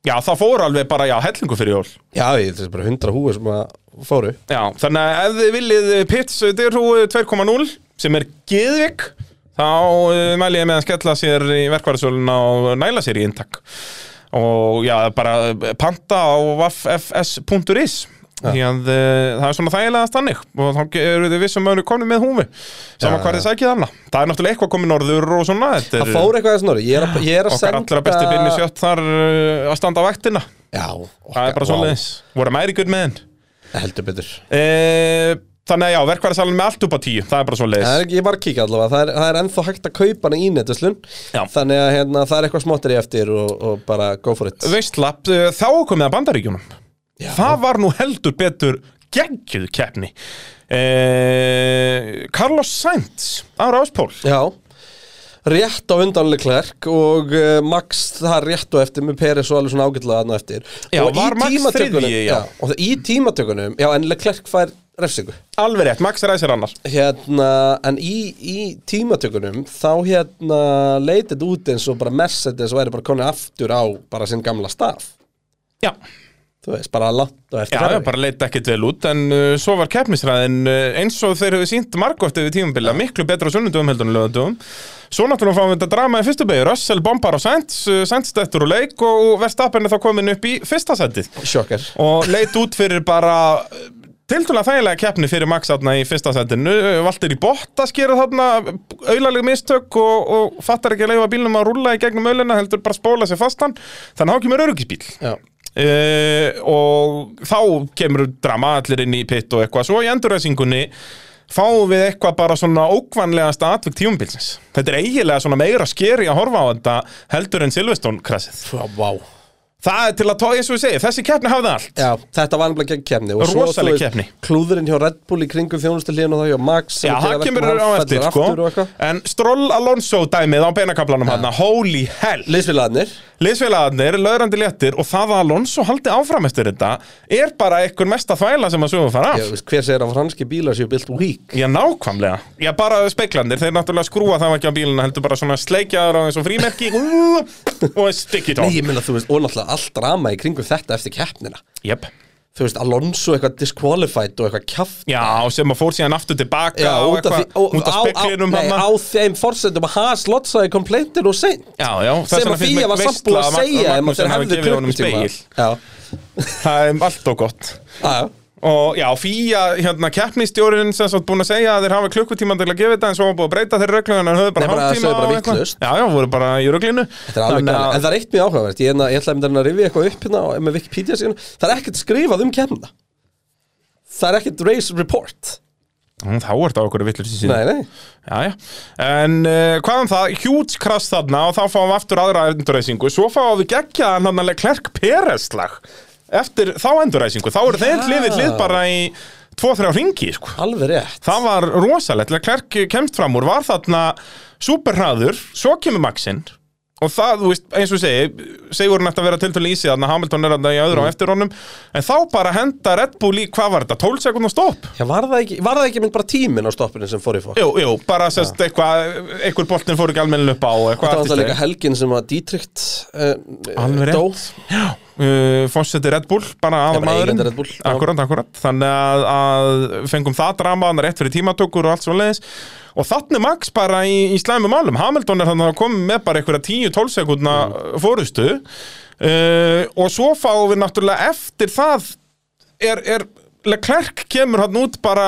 Já, það fór alveg bara, já, hellingu fyrir jól
Já, ég, þetta er bara hundra húi sem að fóru
Já, þannig að ef þið viljið eh, pits dyrhúi 2.0 sem er geðvik þá eh, mæli ég með að skella sér í verkvarðsöluna og næla sér í inntak og já, bara eh, panta á waffs.is því að eh, það er svona þægilegast þannig og þá eru þið um vissum mönu konum með húfi saman
Já,
hvað þið sækið þarna það er náttúrulega eitthvað komið norður og svona þetta
Það
er-
fór eitthvað þess norri, ég er að, ég er að
okkar
senda
allra besti Binni Sjött þar uh, að standa á vaktina
Já,
það er bara svoleiðis, voru mæri gutt með henn
wow, Heldur betur
e, þannig að já, verkvæðarsalinn með allt upp á tíu það er bara
Það
svoleiðis
er, ég var að kíkja allavega, það er, það er ennþá hægt að kaupa hana í netuslun
Já.
Þannig að hérna, það er eitthvað smottir í eftir og, og bara go for it
eh, veistlapp, uh, þá komið að bandaríkjunum
Já.
það var nú heldur betur geggjuð keppni eh, Carlos Sainz á Ráspól
Já Rétt á undanlega klerk og uh, Max það rétt og eftir með Peres og alveg svona ágætlega aðna eftir
Já,
og í
var Max
tímatökunum-
þriðji, já.
já. Og það í tímatökunum, já en klerk fær refsingu
Alveg rétt, Max ræsir annar
Hérna, en í, í tímatökunum þá hérna leitið út eins og bara Mercedes væri bara konið aftur á bara sinn gamla staf
Já,
Þú veist, bara langt og eftir
já, já
Ferrari.
bara leita ekkert vel út En uh, svo var keppnisræðin uh, eins og þeir hefur sínt margótt yfir tímabila Miklu betra á sunnundum heldur en lögundum Svo náttúrulega fáum við þetta drama í fyrstu beigju Russell bombar á Sainz, uh, Sainz dettur úr leik Og, og Verstappen er þá komin upp í fyrsta setið
Sjokkar
og leit út fyrir bara tildulega þægilega keppni fyrir Max þarna í fyrsta Uh, sendinu, Valdir í botta skera þarna auðalegu mistök og, og fattar ekki að leifa bílnum að rúlla í gegnum auðlina heldur bara spóla sér fastan þannig hann kemur öryggisbíl
Já,
uh, og þá kemur drama allir inn í pitt og eitthvað svo í endurræsingunni fáum við eitthvað bara svona ókvanlegasta atvik tíumbilsins. Þetta er eiginlega svona meira skeri að horfa á þetta heldur en Silveston krasið.
Pá, vá
Það er til að tóa eins og við segja, þessi keppni hafði allt.
Já, þetta var nefnilega gegn keppni og svo, þú
Rosaleg
veist,
keppni.
Klúðurinn hjá Red Bull í kringum þjónustuhlíðin og það hjá Max sem
Já,
gerir
það
verkum
kemur
að
á
hann
eftir,
fellur
sko
aftur og eitthvað.
En Stroll Alonso dæmið á beinakablanum hann Holy hell
Liðsfélagarnir
Liðsfélagarnir, löðrandi léttir og það að Alonso haldi áfram eftir þetta er bara einhver mesta þvæla sem að sögum fara af
Ég veist, hver segir að franski bílar séu built weak
Já, nákvæmlega. Já, bara speiklandir, þeir náttúrulega skrúa það ekki á bíluna, heldur bara svona sleikjaður á eins og
<laughs>
frímerki ú, og stick it
Nei,
on.
ég meina, þú veist, og náttúrulega allt drama í kringum þetta eftir keppnina
Jep.
Þú veist, Alonso eitthvað disqualified og eitthvað kjaft
Já, sem að fór síðan aftur tilbaka
Já,
og
út af,
eitthvað,
því, og,
út af speklinum
á, nei,
hann.
á þeim forsendum að Haas lotsaði kompleintin og seint
Já, já, þess
sem
vegna
að
finnst
Fía
mér
var samt
veisla
búið að
að Mag-
segja ef
Magnussen
maður
hafi
hefði
gefið honum
klukkutíma
spegil.
Já,
Það er um allt og gott.
já,
Og já, Fía, hérna, keppnistjórin sem svo búin að segja að þeir hafa klukkutíma til að gefa þetta en svo var búin að breyta þeirra reglum en þeir höfðu bara
Nei, bara
hálftíma
sögðu bara
og eitthvað.
vitlaust.
Já, já, voru bara í ruglinu
þetta er alveg gæli En það er eitt mjög áhugavert, ég, ég ætla að mynda að rifja eitthvað upp hérna á- með Wikipedia síðan Það er ekkert skrifað um kemna Það er ekkert race report
Hm, Þá er þetta okkur villur síðan
Nei, nei,
Já, já. En uh, hvað um það, hjúts krass þarna og þá fáum við aftur aðra endurreysingu Svo fáum við geggjaðan hann alveg Klerk Pereslag Eftir þá endurreysingu, þá eru þeir
Já.
hlið við hlið bara í 2-3 ringi sko.
alveg rétt
Það var rosalegt, Klerk kemst fram úr, var þarna superhraður, svo kemur Maxinn Og það, þú veist, eins og ég segi, segurinn ætti að vera tiltölu í sig þarna, Hamilton er þarna í öðru á eftir honum En þá bara henda Red Bull í, hvað var þetta, 12 sekundar stopp?
Já, var það ekki, var það ekki mynd bara tíminn á stoppinu sem fór í fólk?
Jú, jú, bara sérst eitthvað, eitthvað boltin fór ekki almennilega upp á og eitthvað
Þetta var
allt í
það líka
steik.
helgin sem að Dietrich uh,
Alveg rétt. Já, uh, fórseti Red Bull, bara aða
bara eigandi Red Bull, já.
Akkurat, akkurat, þannig að, að fengum það drama, hann er rétt fyrir tímatökur og allt svo leiðis Og þannig Max bara í, í slæmi málum, Hamilton er þannig að koma með bara einhverja 10-12 sekundna
Mm.
fórustu uh, Og svo fáum við náttúrulega eftir það, er, er Leclerc kemur hann út bara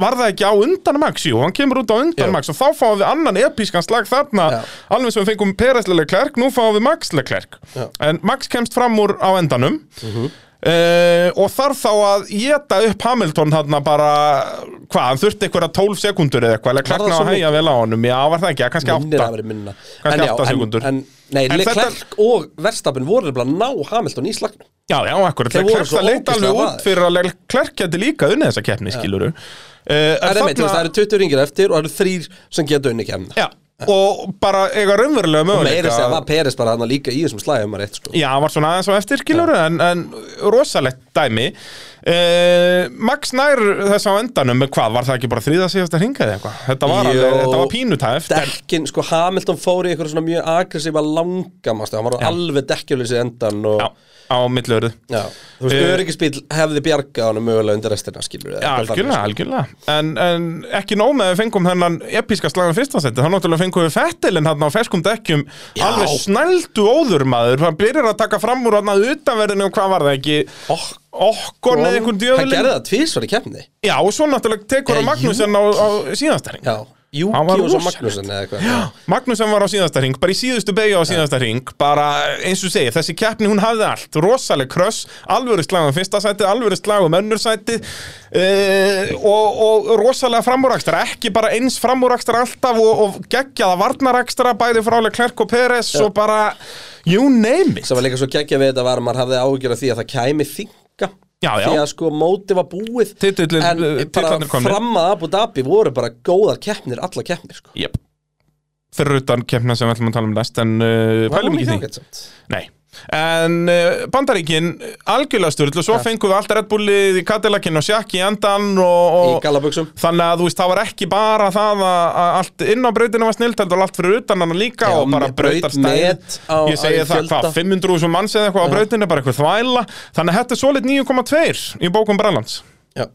var það ekki á undan Max, jú, hann kemur út á undan
Jú.
Max og þá fáum við annan episkan slag þarna,
Já.
alveg sem við fengum Pereslega Klerk, nú fáum við Maxlega Klerk
Já. Mhm.
en Max kemst fram úr á endanum uh og þarf þá að geta upp Hamilton þarna bara, hvað, hann þurfti einhverja 12 sekundur eða
Var
eitthvað, eða
það
Klerk ná
svo
að hægja vel á honum, já, var það ekki, já, kannski
Minnir að
8
verið minna
Kannski
En já,
átta
en-
sekúndur.
en- Nei,
En þetta-
Leclerc og Verstappen voru nefnilega að ná Hamilton í slagnum
Já, já, akkurat,
Þeir voru
Leclerc
svo
það leit
ógeðslega
alveg út
hraðir.
fyrir að Leclerc geti líka unnið þessa keppni, skiluru uh,
Það er meitt, það eru 20 ringir eftir og það eru þrýr sem geta unni kemna
Já, og bara eiga raunverulega
Meira
möguleika
segja var Peres bara hann líka í þessum slæðum að rétt sko
Já, hann var svona aðeins á eftir, skilur en, en rosalegt dæmi uh, Max nær þess á endanum með hvað, var það ekki bara þrýða síðasta hringa eða eitthvað? Þetta var, alveg,
Jó.
þetta var pínutæft en,
Dekkin, sko Hamilton fór í eitthvað svona mjög agressífa langamastu Hann var á alveg dekkjuleysi endan og
Já, á millurðu
Já, þú veist,
Eh,
öryggisbíl hefði bjargað honum mögulega undir restina, skilur
Já, algjörlega, algjörlega en, en ekki nóg með að við fengum þennan episka slagan fyrsta seti, þá náttúrulega fengum við fettilinn hann á ferskum dekkjum alveg snældu óður maður, hann byrjar að taka fram úr hann að utanverðinu og hvað var það ekki
Ok-
okkon eða einhvern
sko. Hann
djöfulinn
gerði það tvísvar í keppni
Já, og svo náttúrulega tekur
Eh,
hann Magnússon á, á síðasta hring
Já, Júki
Hann var
og svo
rosalegt.
Magnúsin eða eitthvað Já,
Magnússon var á síðasta hring, bara í síðustu beigja á síðasta hring, bara eins og segja, þessi keppni hún hafði allt, rosaleg kröss, alvöru slag um fyrsta sætið, alvöru slag um önnur sætið uh, og, og rosalega framúrakstra, ekki bara eins framúrakstra alltaf og, og geggjaða varnarakstra, bæði frálega Klerk og Peres og bara, you name it.
sem var líka svo geggja við þetta var að maður hafði ágjör af því að það kæmi þinga
Já, já.
því að sko móti var búið
Titillinn,
en
eh,
bara
titlarnir komnir.
fram að Abu Dhabi voru bara góðar keppnir, alla keppnir sko.
Jep. Fyrir utan kemna sem við ætlum að tala um næst en uh,
Var hún hérna.
pælum ekki í því.
ágæt samt?
Nei. En uh, Bandaríkin uh, algjörlega styrlu, svo fengum við allt Red Bullið í Cadillacin og Sjakki í andan
í
og, og
galaböksum
þannig að þú veist, það var ekki bara það að, að allt inn á brautinu var snilt, heldur allt fyrir utan hann líka
Já,
og bara
með- braut
brautarstæð.
met á-
Ég segi
á
það,
fjölda.
hvað, 500 sem manns eða eitthvað á brautinu, bara eitthvað þvæla. Þannig að þetta er svolít 9,2 í bókum Brænlands.
já.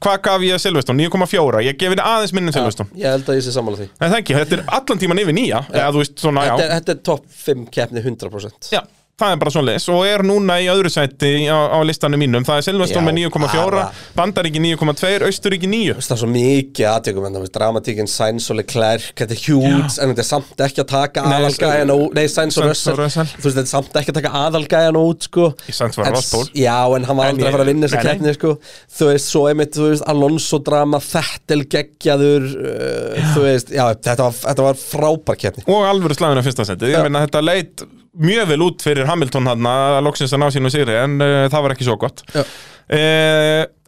Hvað gaf ég Silveston? 9,4. Ég gef henni aðeins minni en
Já,
Silveston.
ég held að ég sé sammála því
Nei, það ekki, þetta er allan tíman yfir nýja eða þú veist, svona,
þetta er,
já,
þetta er topp 5 keppni 100%
já það er bara svona leis og er núna í öðru sæti á, á listanum mínum, það er Silveston
Já,
með 9,4
bara.
Bandaríki 9,2, Austuríki 9
Þú veist, það er svo mikið aðtökum en það er dramatíkin Sainz og Leclerc, þetta er huge en þetta er samt ekki að taka
Nei,
aðalgæjan út nei, Sainz og
Sainz og
Russell,
Russell.
þú veist, þetta er samt ekki að taka aðalgæjan út sko.
Sainz var
En-
Rosból.
Já, en hann var
En
aldrei
ég-
að fara að vinna þessa
nei, nei.
keppni sko. þú veist, svo einmitt, þú veist, Alonso drama Fettel geggjaður uh, þú veist, já, þetta var, þetta var frábær keppni
og alvöru slaginu á fyrsta sæti, ég
Já.
meina þetta leit mjög vel út fyrir Hamilton hann að loksins að ná sínu sigri, en uh, það var ekki svo gott uh,
Já.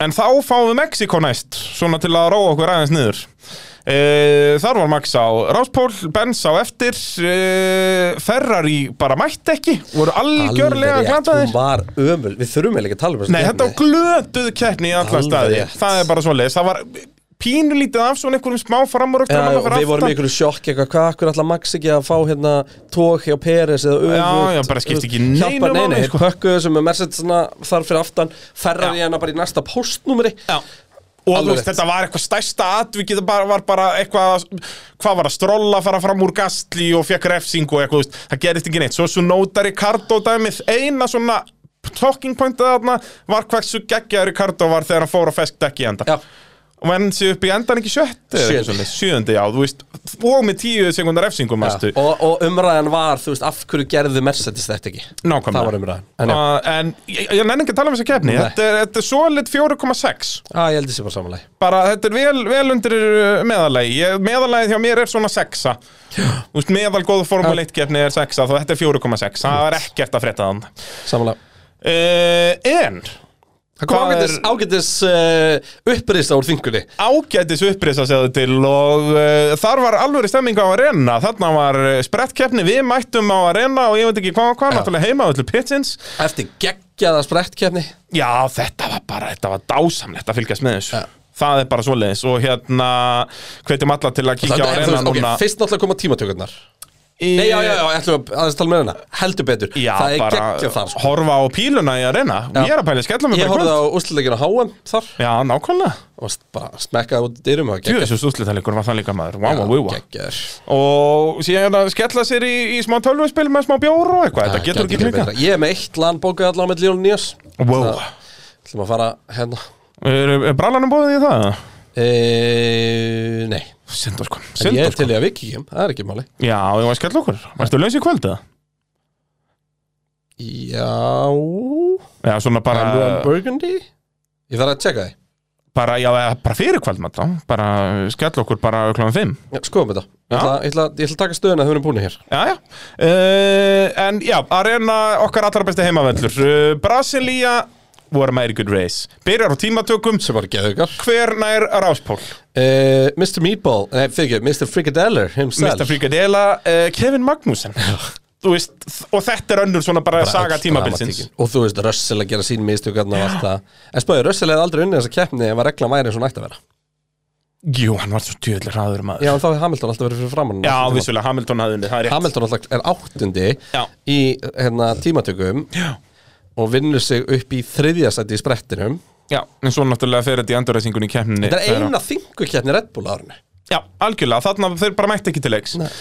en þá fáum við Mexiko næst, svona til að róa okkur aðeins niður uh, þar var Max á Ráspól, Benz á eftir uh, Ferrari bara mætti ekki, voru algjörlega
Alveg rétt,
glataðir
hún var ömul, við þurfum eiginlega ekki að tala um þessa
Nei, þetta var glötuð keppni í alla
Alveg
staði
rétt.
Það er bara svoleiðis, það var pínulítið af svona einhverjum smá framurögt
Já, og við vorum í einhverju sjokk eitthvað, hvað akkur ætla Max ekki að fá hérna tók hjá Peres eða öfugt
Já, já, bara skipti ekki neinu
Hjálpa, nei,
máli,
nei, sko.
sko.
pökkuðu sem er Mercedes svona þar fyrir aftan ferrar í hana bara í næsta postnúmeri
Já Og þú
Alveg
veist,
rétt.
þetta var eitthvað stærsta atvikið það bara, var bara eitthvað, hvað var að strolla fara fram úr gastli og fekk refsing og eitthvað, þú veist, það gerist ekki neitt svo svo nóta Ricardo dæmið, eina svona talking pointið þarna var hversu geggjaði Ricardo var þegar hann fór á fesk dekki í enda
Já,
og hann sé upp í endan ekki sjötti eða eitthvað
Sjöundi.
svoleiðis, sjöundi, já, þú veist og með tíu sekundar refsingum,
já.
mæstu
Og, og umræðan var, þú veist, af hverju gerðu Mercedes þetta ekki?
Nákvæmlega.
Það var um umræðan En já,
Uh, en ég, ég nenni ekki að tala um þessa kefni
Nei.
þetta er, þetta er solid 4,6
á, ég held þessi bara samanlega
bara þetta er vel, vel undir uh, meðalagi Ég- meðalagið hjá mér er svona 6 Þú veist, meðal góð Formule 1 keppni er 6 þá þetta er 4,6 það er ekkert að frétta þann
Samanlega
uh, en
Það kom
Hvað
ágætis,
er-
ágætis uh, upprýsta úr þingunni
ágætis upprisa segðu til og uh, þar var alvöru stemming á arena þarna var sprettkeppni, við mættum á arena og ég veit ekki hvað og hvað,
Já.
náttúrulega heima öllu pitsins
Eftir geggjaða sprettkefni
Já, þetta var bara, þetta var dásamlegt að fylgjast með þessu
Já.
Það er bara svoleiðis og hérna hvetjum alla til að kíkja á arena
Ok,
núna
fyrst náttúrulega koma tímatökurnar
í-
Nei, já, já, já, ætlum við aðeins tala með hana Heldur betur,
Já,
það er
bara
geggjað þar sko.
horfa á píluna í arena
Já.
Ég er að pæla, skellum við
Ég
bara í
horfði á
kvöld
úrsluleikinu á HM þar
Já, nákvæmlega
og st- bara smekkaði út dyrum og
Jú,
geggjað
þessu stúslitalegur var það líka maður Vá, vá, vá, vá
Geggjað
Og síðan að skella sér í, í smá tölvuspil með smá bjóru og eitthvað Þetta getur ekki klika
Ég er með eitt land bókað allan með Líón Nías
Wow,
ætlum að fara hérna
er, er brallanum búið í það?
e Nei,
Sendur sko,
en ég
sendur
er til
sko
í að við kíkjum Það er ekki máli
Já, ég var að skella okkur Varstu laus í kvöld eða?
Já
Já, svona bara eh,
Andrew and Burgundy Ég þarf að tjekka því
bara, já, eða bara fyrir kvöldmatt þá bara uh, skell okkur bara klokkan 5
Já, Skoðum þetta Ég
Já.
ætla, ég, ætla, ég ætla að taka stöðuna þegar við erum búin hér
já, já uh, en já, arena okkar allra besti heimavellur uh, Brasilia voru meiri good race byrjar á tímatökum
sem var geðugar
hver nær ráspól
uh, Mr. Meatball, nei, fyrir ekki, Mr. Frikadeller himself
Mr. Frikadela, uh, Kevin Magnussen þú veist, og þetta er önnur svona bara,
Bara
saga
öll
tímabilsins
dramatíkin. og þú veist Russell að gera sín mistökarna og allt það en spöðu Russell hefði aldrei unnið þessa keppni ef að reglan væri eins og hún ætti að vera
jú, hann var svo tjöðlega hraður maður
já en þá hefði Hamilton alltaf verið fyrir framann
já vissulega, Hamilton hafði unnið, það er rétt
Hamilton alltaf er áttundi
Já.
í hérna, tímatökum
Já.
og vinnur sig upp í þriðja sæti í sprettinum
já, en svo náttúrulega fer þetta í endurreysingun í keppninni
þetta
þegar-
er eina þingu keppni Red Bull á árinu
Já, algjörlega, þarna þeir bara mætti ekki til leiks uh,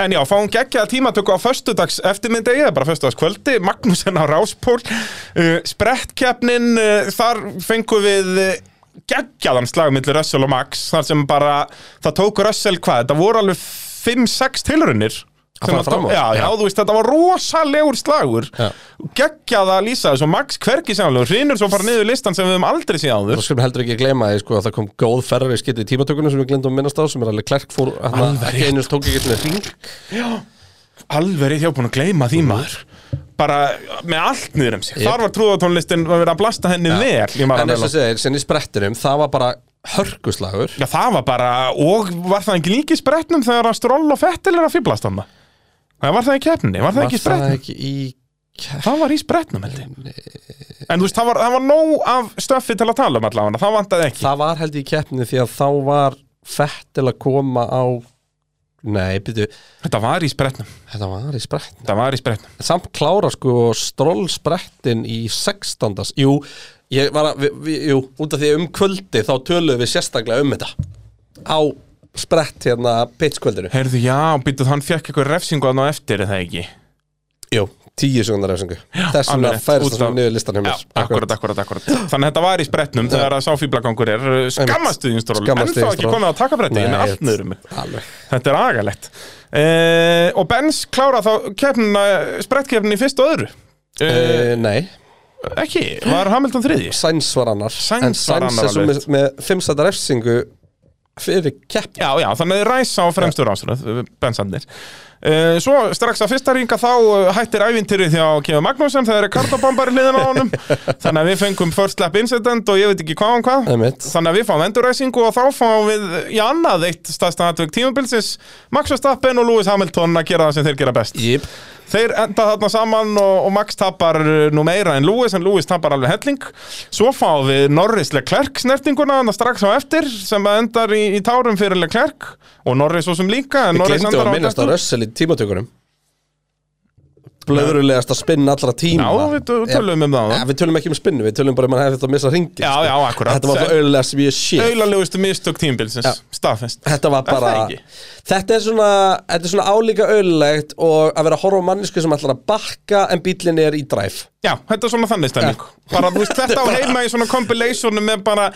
En já, fáum geggjaða tímatöku á föstudags eftirmyndegi, eða bara föstudagskvöldi Magnúsen á Ráspól uh, Sprettkeppnin, uh, þar fengum við uh, geggjaðan slag millir Russell og Max, þar sem bara það tók Russell hvað, þetta voru alveg 5-6 tilrunir
Að fara fram úr.
já, já,
Já.
þú veist, þetta var rosalegur slagur
Já.
Geggjaða að lýsa þessu, og Max hvergi sannlega Hrinur svo fara niður listan sem við höfum aldrei séð áður
Þú skulum heldur ekki gleyma því sko að það kom góð ferri skiti í tímatökunum sem við glendum minnast á sem er alveg klerk fór hérna,
Alveg
ekki einust tók ekki einu sinni hring
alveg rétt, ég hef búin að gleyma því maður bara með allt niður um sig þar var trúðatónlistin að vera að blasta henni vel ég maður
En
hann
þess
vel
að
á
segja, sinni sprettinum, það var bara hörkuslagur
Já, það var bara, og var það ekki líki í spretnum þegar að Stroll og Fettil er að fýblast hann það var það í keppninni, var það
Var
ekki í spretnum
ekki í
það var í spretnum held ég en þú veist, það var, það var nóg af stöffi til að tala um allavega, það vantaði ekki
Það var held ég í keppni því að þá var Fettil að koma á Nei, byrju,
þetta var í spretnum,
þetta var í sprettin
það var í spretnum
Samt klára sko stról sprettin í 16. Jú, ég var að, vi, vi, jú, út af því um kvöldi þá töluðum við sérstaklega um þetta Á sprett hérna pitskvöldinu
heyrðu, já, býttu, hann fekk eitthvað refsingu að ná eftir, er það ekki
Jú, tíu sekundar refsingu Þess
alveg
vegna
rétt,
færist
út
það
af-
niður listan hjá
Já,
mér
akkurat, akkurat, akkurat Þannig að þetta var í spretnum þegar að sáfíblagangur er uh, skammastuðinstról En þá ekki
skammarstuðningstról.
komið að taka bretti með
Nei,
allt um nöðrum
Alveg
Þetta er agalegt uh, Og Benz klára þá keppnina, sprettkeppnin í fyrst og öðru uh,
uh, Nei,
Ekki, var Hamilton þriði
Sainz var annar
Sainz
En Sainz
var annar
er svo
alveg.
með, með fimmstættar refsingu Fyrir kepp
Já, já, þannig að ræsa á fremstur ásröð, bensandir. Uh, svo strax að fyrsta ringa þá uh, hættir ævintýrið hjá Kevin Magnússon, það eru kartabombari hliðin á honum, þannig að við fengum first lap incident og ég veit ekki hvað og hvað.
Einmitt.
Þannig að við fáum enduræsingu og þá fáum við í annað eitt staðsta atveg tímabilsins, Max Verstappen og Lewis Hamilton að gera það sem þeir gera best.
Jip
Þeir enda þarna saman og, og Max tapar uh, nú meira en Lewis en Lewis tapar alveg helling Svo fáum við Norris Leclerc snertinguna þannig strax á eftir sem að endar í, í tárum fyrir Leclerc og Norris svo sem líka en
Við
Norris
glemdum
endar
að
á
minnast að
dekkum.
Russell í tímatökunum Blöðrulegast að spinn allra tíma
Já, við t- tölum um það
ja, Við tölum ekki um spinnu, við tölum bara um að hefði þetta að missa ringi
Já, já, akkurat.
Þetta var bara auðlega sem ég sé
Aulalegustu mistök tímabilsins,
Já.
staðfest
Þetta var
Er það
bara
ekki?
Þetta er svona, þetta er svona álíka auðlegt og að vera að horfa á mannesku sem ætlar að bakka en bílinn er í dræf
Já, þetta er svona þannig stemming bara, þú veist, Þetta á heima í svona compilationu með bara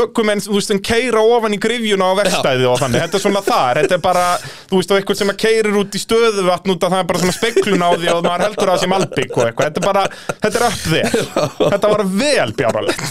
ökumenn, þú veist, en keira ofan í grifjuna á verkstæði og þannig Þetta er svona þar, þetta er bara, þú veist, og eitthvað sem að keirir út í stöðuvatn út að það er bara svona speklun á því og maður heldur að það sem albygg og eitthvað Þetta er bara, þetta er upp þér Þetta var vel bjáralegt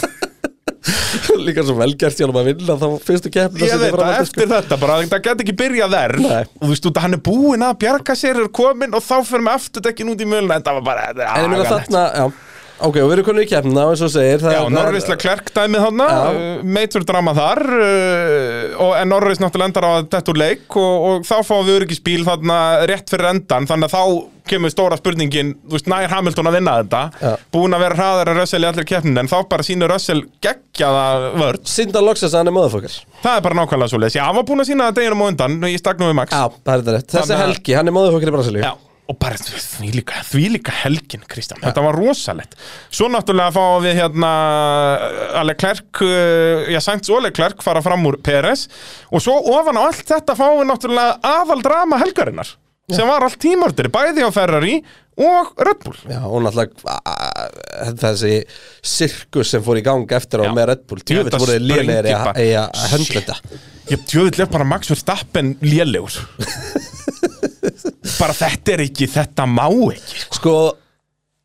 <laughs> <laughs> Líka svo velgert hjálpa að vinna þá fyrstu keppna
Ég veit að eftir þetta bara, þetta get ekki byrjað verð
Nei.
og þú veist, út að hann er búinn að bjarga sér er komin og þá fyrir með afturdekkin út í möluna Þetta var bara, þetta
En ég meina
er agalegt.
þarna, já Ok, og við erum konið í keppna og eins og þú segir það
Já,
er- það er-
Norris Leclerc dæmið þarna,
Já.
uh, meitur drama þar uh, og en Norris náttúrulega endar á að þetta úr leik og, og þá fáum við öryggisbíl þarna rétt fyrir endan þannig að þá kemur stóra spurningin þú veist, nær Hamilton að vinna þetta
Já.
búin að vera hraðar en Russell í allir keppnin en þá bara sínur Russell geggjaða vörd
Sýnda loksins að hann er möðafokkar
það er bara nákvæmlega svo leis, já, hann var búin að sína það deginum á undan í stagnum við Max
Já, það er þetta rétt Þessi
Þannig að-
helgi, hann er möðafokkar í Brasilíu
Já, og bara því líka, því líka helgin, Kristján, þetta var rosalegt. Svo náttúrulega fáum við hérna að Leclerc, uh, já, Sainz og Leclerc fara fram úr Peres og svo ofan á allt þetta fáum við náttúrulega aðaldrama helgarinnar sem var allt tímordir, bæði á Ferrari og Red Bull.
Já, og náttúrulega a- a- þessi sirkus sem fór í gang eftir á
Já.
með Red Bull Tjöfitt
Þetta
voru lélegri
sprengdi bara.
að eiga að höndla þetta
Ég tjóðilega bara Max Verstappen lélegur. bara þetta er ekki, þetta má ekki.
Sko,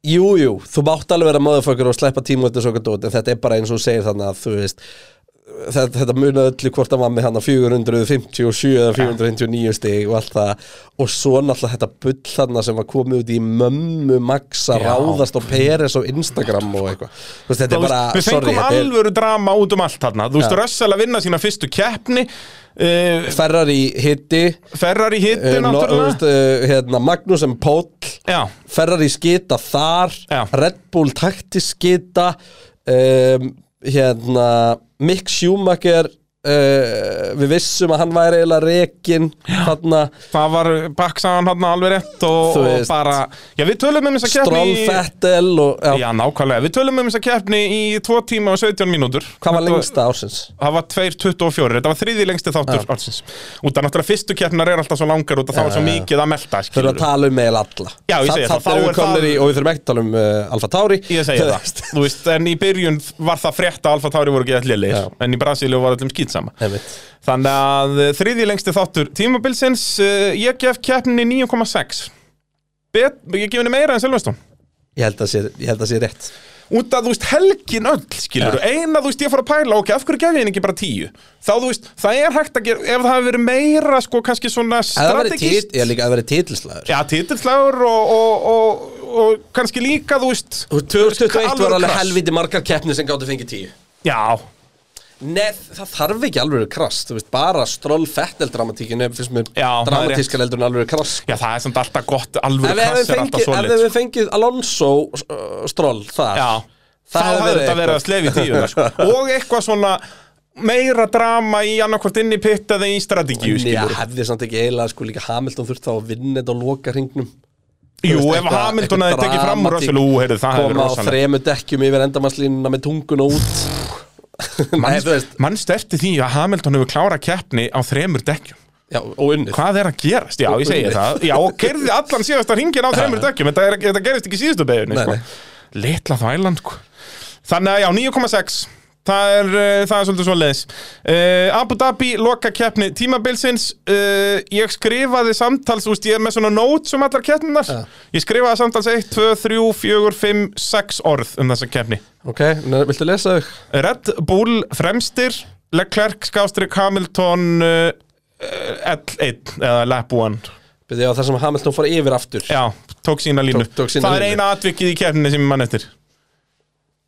jú, jú, þú mátt alveg vera motherfucker og sleppa tíma þetta svo okkur dót en þetta er bara eins og þú segir þannig að þú veist þetta, þetta muna öllu hvort að var með hann að 457 eða 459 stig og allt það og svo náttúrulega þetta bull þarna sem var komið út í mömmu Max að
Já.
ráðast á Peres á Instagram og eitthvað Þú veist, þetta er bara,
Við
sorry,
fengum
þetta er
alvöru drama út um allt þarna. Þú veist,
Já.
Russell að vinna sína fyrstu keppni, uh,
Ferrari hitti
Ferrari hittu
Eh, no- þú veist,
náttúrulega
eh, hérna, Magnús en Póll
Já,
Ferrari skita þar
Já.
Red Bull taktis skita um, hérna Mick Schumacher uh, við vissum að hann væri eiginlega rekin þarna
það var baksaðan hann alveg rétt og,
Þú
og
veist.
bara Já, við tölum um þess að keppni
Stroll
í-
Fettel og já,
Já, nákvæmlega, við tölum um þess að keppni í 2 tíma og 17 mínútur
hvað var
Þetta
lengsta ársins
Það var 2.24, þetta var þriði lengsti þáttur ársins Út af náttúrulega fyrstu keppnar er alltaf svo langar út af það var svo
já, já.
mikið að
þurfum
melta
að
skilurðu.
tala um meil alla
Já, ég segi
það,
það, þá
erum
er
við komnir
það-
í og við þurfum ekki að tala um uh, Alfa Tauri <laughs>
Ég segi
Þú
það,
veist.
þú veist, en í byrjun var það frétt að Alfa Tauri voru ekki allir
Já.
leir En í Brasíliu var allum skýtsama
Einmitt.
Þannig að eh, þriðji lengsti þáttur tímabilsins eh, Ég gef keppninni 9,6 Bet- Ég gef henni meira en Silveston
ég held að sé, ég held að sé rétt
út að þú veist helgin öll skilur eina þú veist ég fór að pæla ok, af hverju gef ég henni ekki bara tíu þá þú veist, það er hægt að gera ef það hefur verið meira sko kannski svona
Ef það væri
strategist
tit- já, líka, ef það væri titilslagur
já, titilslagur og, og, og, og kannski líka þú veist
Og 2021 var
alvöru
alveg
krass.
helviti margar keppnir sem gáttu fengið tíu
já,
Nei, það þarf ekki alveg krast Þú veist, bara stról fettel dramatíkin finnst mér
Já, það er
dramatískar heldur en alveg krast
já, það er samt alltaf gott
Ef
alvöru
við hefum
krass er alltaf
fengið, ef
svoleitt
við hefum fengið Alonso uh, stról þar
Já, það
hefði
hefði þetta verið að
eitthvað.
slefi tíu sko.
<laughs>
Og eitthvað svona meira drama í annarkvort inn í pitt eða í strategíu
Já,
skilur
hefði samt ekki eiginlega sko líka Hamilton þurft þá að vinna þetta á loka hringnum
Jú,
veist,
ef
eitthvað-
Hamilton hefði
eitthvað
tekið fram úr
dramatík.
Russell, ú, heyrðu, það hefði verið
Koma á
rosalega
þremu dekkjum yfir endamannslínuna með tungun og út Nei, þú veist
Mannst eftir því að Hamilton hefur klára keppni á þremur dekkjum
Já, og unnið
Hvað er að gerast? Já, ég segi
Unnið.
það Já, og kerði allan síðasta hringin á þremur dekkjum Þetta, er, þetta gerist ekki í síðustu beginni
Nei,
sko.
nei.
Litla þvælan sko. Þannig að já, 9,6 Það er, uh, það er svolítið svo leiðis Abu Dhabi loka keppni tímabilsins uh, Ég skrifaði samtals úst, Ég er með svona notes um allar keppninar Ég skrifaði samtals 1, 2, 3, 4, 5, 6 orð um þessa keppni
Ok, nú, viltu lesa þau?
Red Bull fremstir Leclerc skástrík Hamilton uh, L1 eða lap 1
Byrði á þar sem Hamilton fór yfir aftur
Já, tók sína línu
Tók- tók sína
Það er
línu.
eina atvikið í kefninu sem ég mann eftir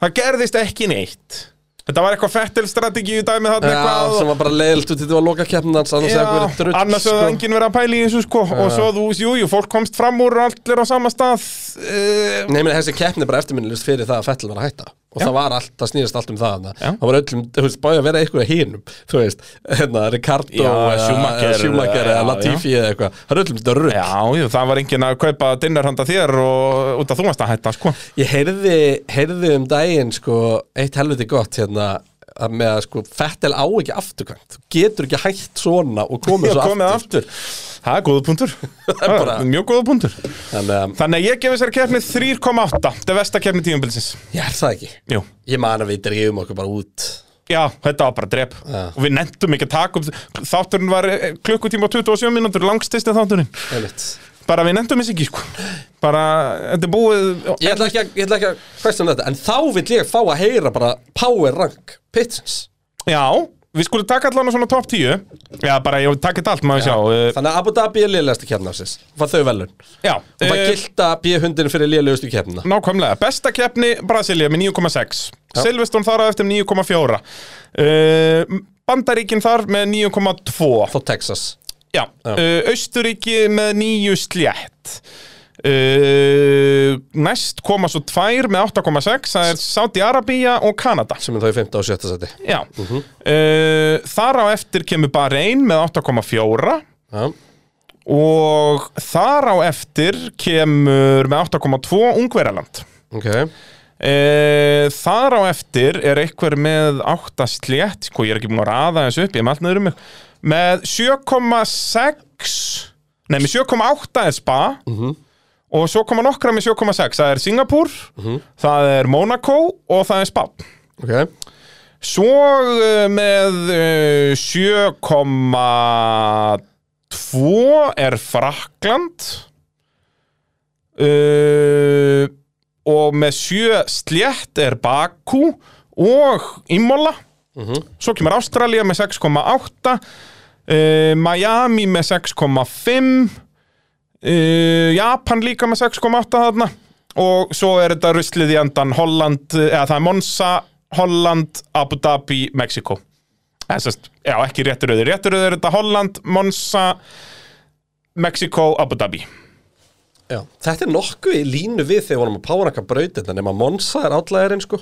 Það gerðist ekki neitt Þetta var eitthvað fettelstrategi í dæmi þarna eitthvað
sem var bara leiðilt út í því að loka keppnans annars hefði verið
Já,
drull sko.
annars hefði enginn verið að pæla í þessu sko Og svo þú, jú, jú, fólk komst fram úr og allir á sama stað uh,
Nei, meni, þessi keppni er bara eftirminnilist fyrir það að Fettel var að hætta og
Já.
það var allt, það snýðist allt um það þarna.
Já.
það var öllum, þú veist, bæði að vera eitthvað hínum þú veist, hérna, Ricardo
Já,
eða-
Schumacher,
eða Schumacher
já,
eða Latifi eða eitthvað, það er öllum þetta rull
Já, jú, það var enginn að kaupa dinner handa þér og út að þú varst að hætta sko
ég heyrði, heyrði um daginn sko, eitt helviti gott hérna að með að sko, Fettel á ekki afturkvæmt þú getur ekki hætt svona og komið
Ég
svo
komið
aftur
aftur Það er góða punktur <laughs> Það er
bara-
mjög góða punktur
þannig að,
Þannig að ég gefi sér keppni 3,8 Það er versta keppni tíumbilsins
ég er það ekki
Jú
ég man að við drefum okkur bara út
Já, þetta var bara drep
Já.
og við nefndum ekki að taka upp þátturinn var eh, klukkutíma og 27 mínútur langstist þátturinn,
Einmitt.
bara við nefndum þess ekki sko, bara þetta er búið
Ég ætla ekki að, ég ætla ekki að hversu um þetta En þá vill ég fá að heyra bara power rank pitsins
Já, við skulum taka allan á svona top 10 Já, bara ég taka þetta allt, maður sjá eh,
Þannig að Abu Dhabi er lélegasti keppna ásins Fá þau velun Og
Já,
það
eh,
gilda B-hundin fyrir lélegustu keppna
nákvæmlega Besta keppni Brasilia með 9,6 Silveston þar að eftir 9,4 uh, Bandaríkin þar með 9,2
Þá Texas
Já,
Já.
uh, Austuríki með nýju slétt uh, Næst koma svo tvær með 8,6 Það er Saudi Arabia og Kanada
Sem er þá í 15 og 17 seti
Já uh, Þar á eftir kemur Bahrein með 8,4
Já
Og þar á eftir kemur með 8,2 Ungverjaland
Ok
Uh, þar á eftir er einhver með 8 slétt, sko ég er ekki búin að raða þessu upp, ég er með allt niður um mig með 7,6 nei með 7,8 er spa og svo koma nokkra með 7,6 það er Singapur, það er Monaco og það er spa
Ok
svo uh, með uh, 7,2 er Frakland uh, og með 7 slétt er Baku og Imola svo kemur Ástralía með 6,8 uh, Miami með 6,5 uh, Japan líka með 6,8 þarna og svo er þetta ruslið í endan Holland, eh, eða það er Monza Holland, Abu Dhabi, Mexiko eða sérst, já ekki rétturöður rétturöður er þetta Holland, Monza Mexiko, Abu Dhabi
Já Þetta er nokkuð í línu við þegar vorum að power ranka brautina Nefn að Monsa er átlæðirinn sko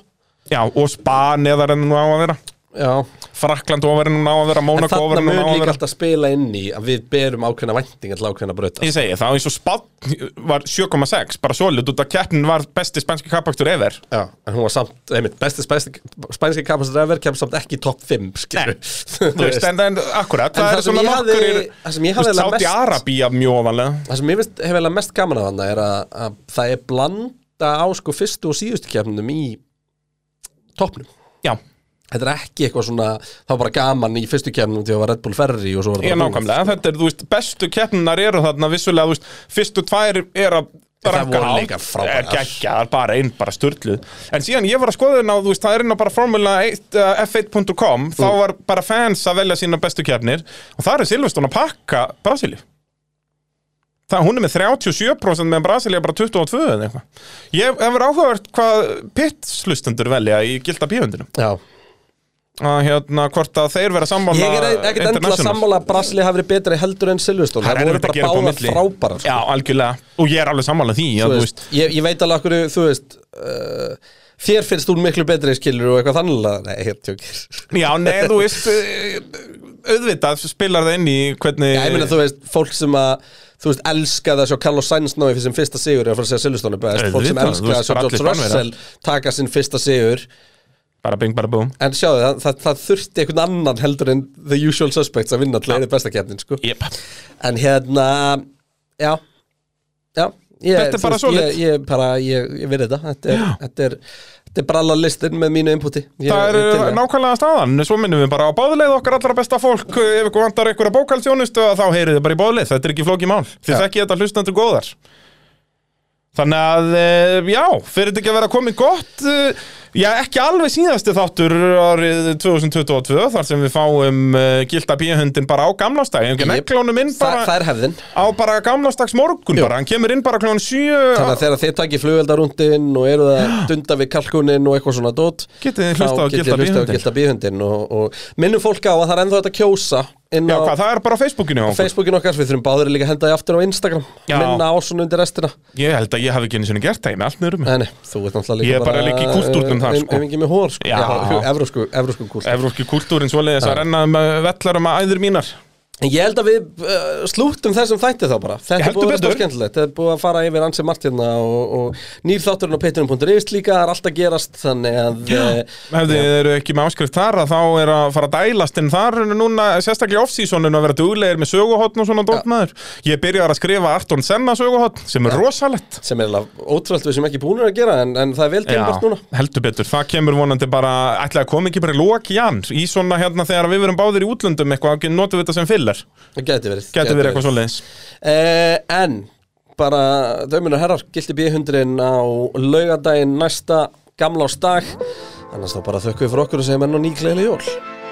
já, og Spa neðar en hún á að vera
Já
Frakland ofar en hún á að vera,
En
Mónako ofar
þarna
en hún
mun
á að
líka
vera
alltaf spila inn í að við berum ákveðna væntingar til ákveðna brauta
Ég segi, það var eins og Spann var 7,6, bara svolít, út að keppnin var besti spænski kapakstur ever.
Já, en hún var samt, einmitt, besti spænski, spænski kapasitur ever kemst samt ekki í topp 5, skilur
Nei,
<laughs>
Þú veist, en, en akkurat,
En
það,
það
er
sem
svona
ég hafði-
nokkur
það sem ég hafði eiginlega
Sáti
mest-
Arabía mjög ofanlega
Það sem ég finnst hefur eiginlega mest gaman af hana er að, að það er blanda á sko fyrstu og síðustu kefnum í toppnum
Já,
þetta er ekki eitthvað svona það var bara gaman í fyrstu kemnum til að var Red Bull Ferri og svo var
Ég
bara búið.
nákvæmlega, en þetta er, þú veist, bestu keppnunar eru þarna vissulega, þú veist, fyrstu tvær er að
Það
ranka
voru
á.
líka frábærar.
Er geggjaðar, bara einn, bara störtluð En síðan ég var að skoða þérna, þú veist, það er inn á bara formula 1, uh, f1.com Þá var bara fans að velja sína bestu keppnir Og það er Silveston að pakka Brasilíu Það, hún er með 37% meðan Brasilíu er bara 22 eða eitthvað Ég hefur áhugavert hvað pitslustendur velja í gilda bíöndinu
Já.
að hérna, hvort að þeir vera sammála
ég er ekkert endilega
international.
sammála að Brasli hafi verið betri heldur en Silveston það
er
voru
erfitt að
bara
gera upp á
báða
milli.
frábærar sko.
Já, algjörlega, og ég er alveg sammála því
Þú
að, þú
veist, ég, ég veit alveg okkur, þú veist uh, þér finnst þú miklu betri skilur og eitthvað þannlega, nei, hér tjókir
Já, nei, þú veist eh, auðvitað spilar það inn í hvernig
Já, ég meina, þú veist, fólk sem að þú veist, elskaði að sjá Carlos Sainz ná í fyrir sem fyrsta sigur, ég var að segja Silveston er best fólk sem
Auðvitað,
elskaði
þú
að
veist,
sjá
bara
George
allir Spánverjar.
Russell taka sinn fyrsta sigur
bara bing, bara búm
en sjáðu, það, það, það þurfti einhvern annan heldur en the usual suspects að vinna til að eða besta keppnin, sko
yep.
en hérna, já já, ég,
Þetta er
þú
bara
veist,
svoleiðis.
ég, ég, bara, ég, ég verið þetta þetta er, þetta er, þetta er bralla listin með mínu inputi ég,
Það
ég
er
til að-
nákvæmlega staðan, svo minnum við bara á báðuleið okkar allra besta fólk, Eh, ef ykkur vantar ykkur að bókaldsjónustu þá heyrið þið bara í báðuleið, þetta er ekki flókið mál þið
Já.
þekki þetta hlustendur góðar Þannig að, eh, já, fyrir þetta ekki að vera komið gott eh, Já, ekki alveg síðasti þáttur árið 2022 þar sem við fáum uh, gilda bíhundin bara á gamlástag en ekki
Jep.
neklónum inn
Þa, það
bara
er hefðin
á bara gamlástags morgun bara, hann kemur inn bara klón 7
Þannig að þegar þið takkir flugveldarúndin og eru það dunda við kalkuninn og eitthvað svona dót
Getið þið
þá
hlustað á
getið þið
Gilda
hlustað á
bíhundinn.
gilda bíhundin og, og minnum fólk á að það er ennþá þetta kjósa inn
Já,
á
hvað, það er bara á Facebookinu á okkur
Facebookin okkar, við þurfum báður líka að henda því aftur á Instagram
Já.
minna á svona undir restina
Ég held að ég hafi ekki einu sinni gert það, ég er með allt niður um mig.
Nei, nei, þú ert náttúrulega líka
Ég er bara líka í kúltúrnum þar, sko.
sko Ef ekki með hór, sko
Já.
Evrósku, evrósku kúlt
Evróski kultúrin svoleiðis að renna um eh, vellar um æður mínar
En ég held að við uh, slúttum þessum þætti þá bara Þetta er
Heldur
búið að vera
betur.
skemmtilegt Þetta er búið að fara yfir ansið margt hérna og, og nýr þátturinn á patreon.is líka er allt að gerast þannig að eh,
Ef þið eru ekki með áskrift þar að þá er að fara að dælast en þar er núna sérstaklega off-seasonin að vera duglegir með söguhotn og svona dótmaður Ég byrjar að skrifa Arton Senna söguhotn sem er rosalett
sem er alveg ótrúlega við sem ekki búinir að gera en, en það er vel gengbart núna
heldur betur, það kemur vonandi bara ætlaði að koma ekki bara í lók í hann í svona hérna þegar við verum báðir í útlöndum eitthvað, notum við þetta sem filler
það gæti verið
Getur verið eitthvað svoleiðis
Eh, en bara döminu herrar gildi B100 á laugardaginn næsta gamla ás dag annars þá bara þökkum við fyrir okkur og segjum enn og nýgleili jól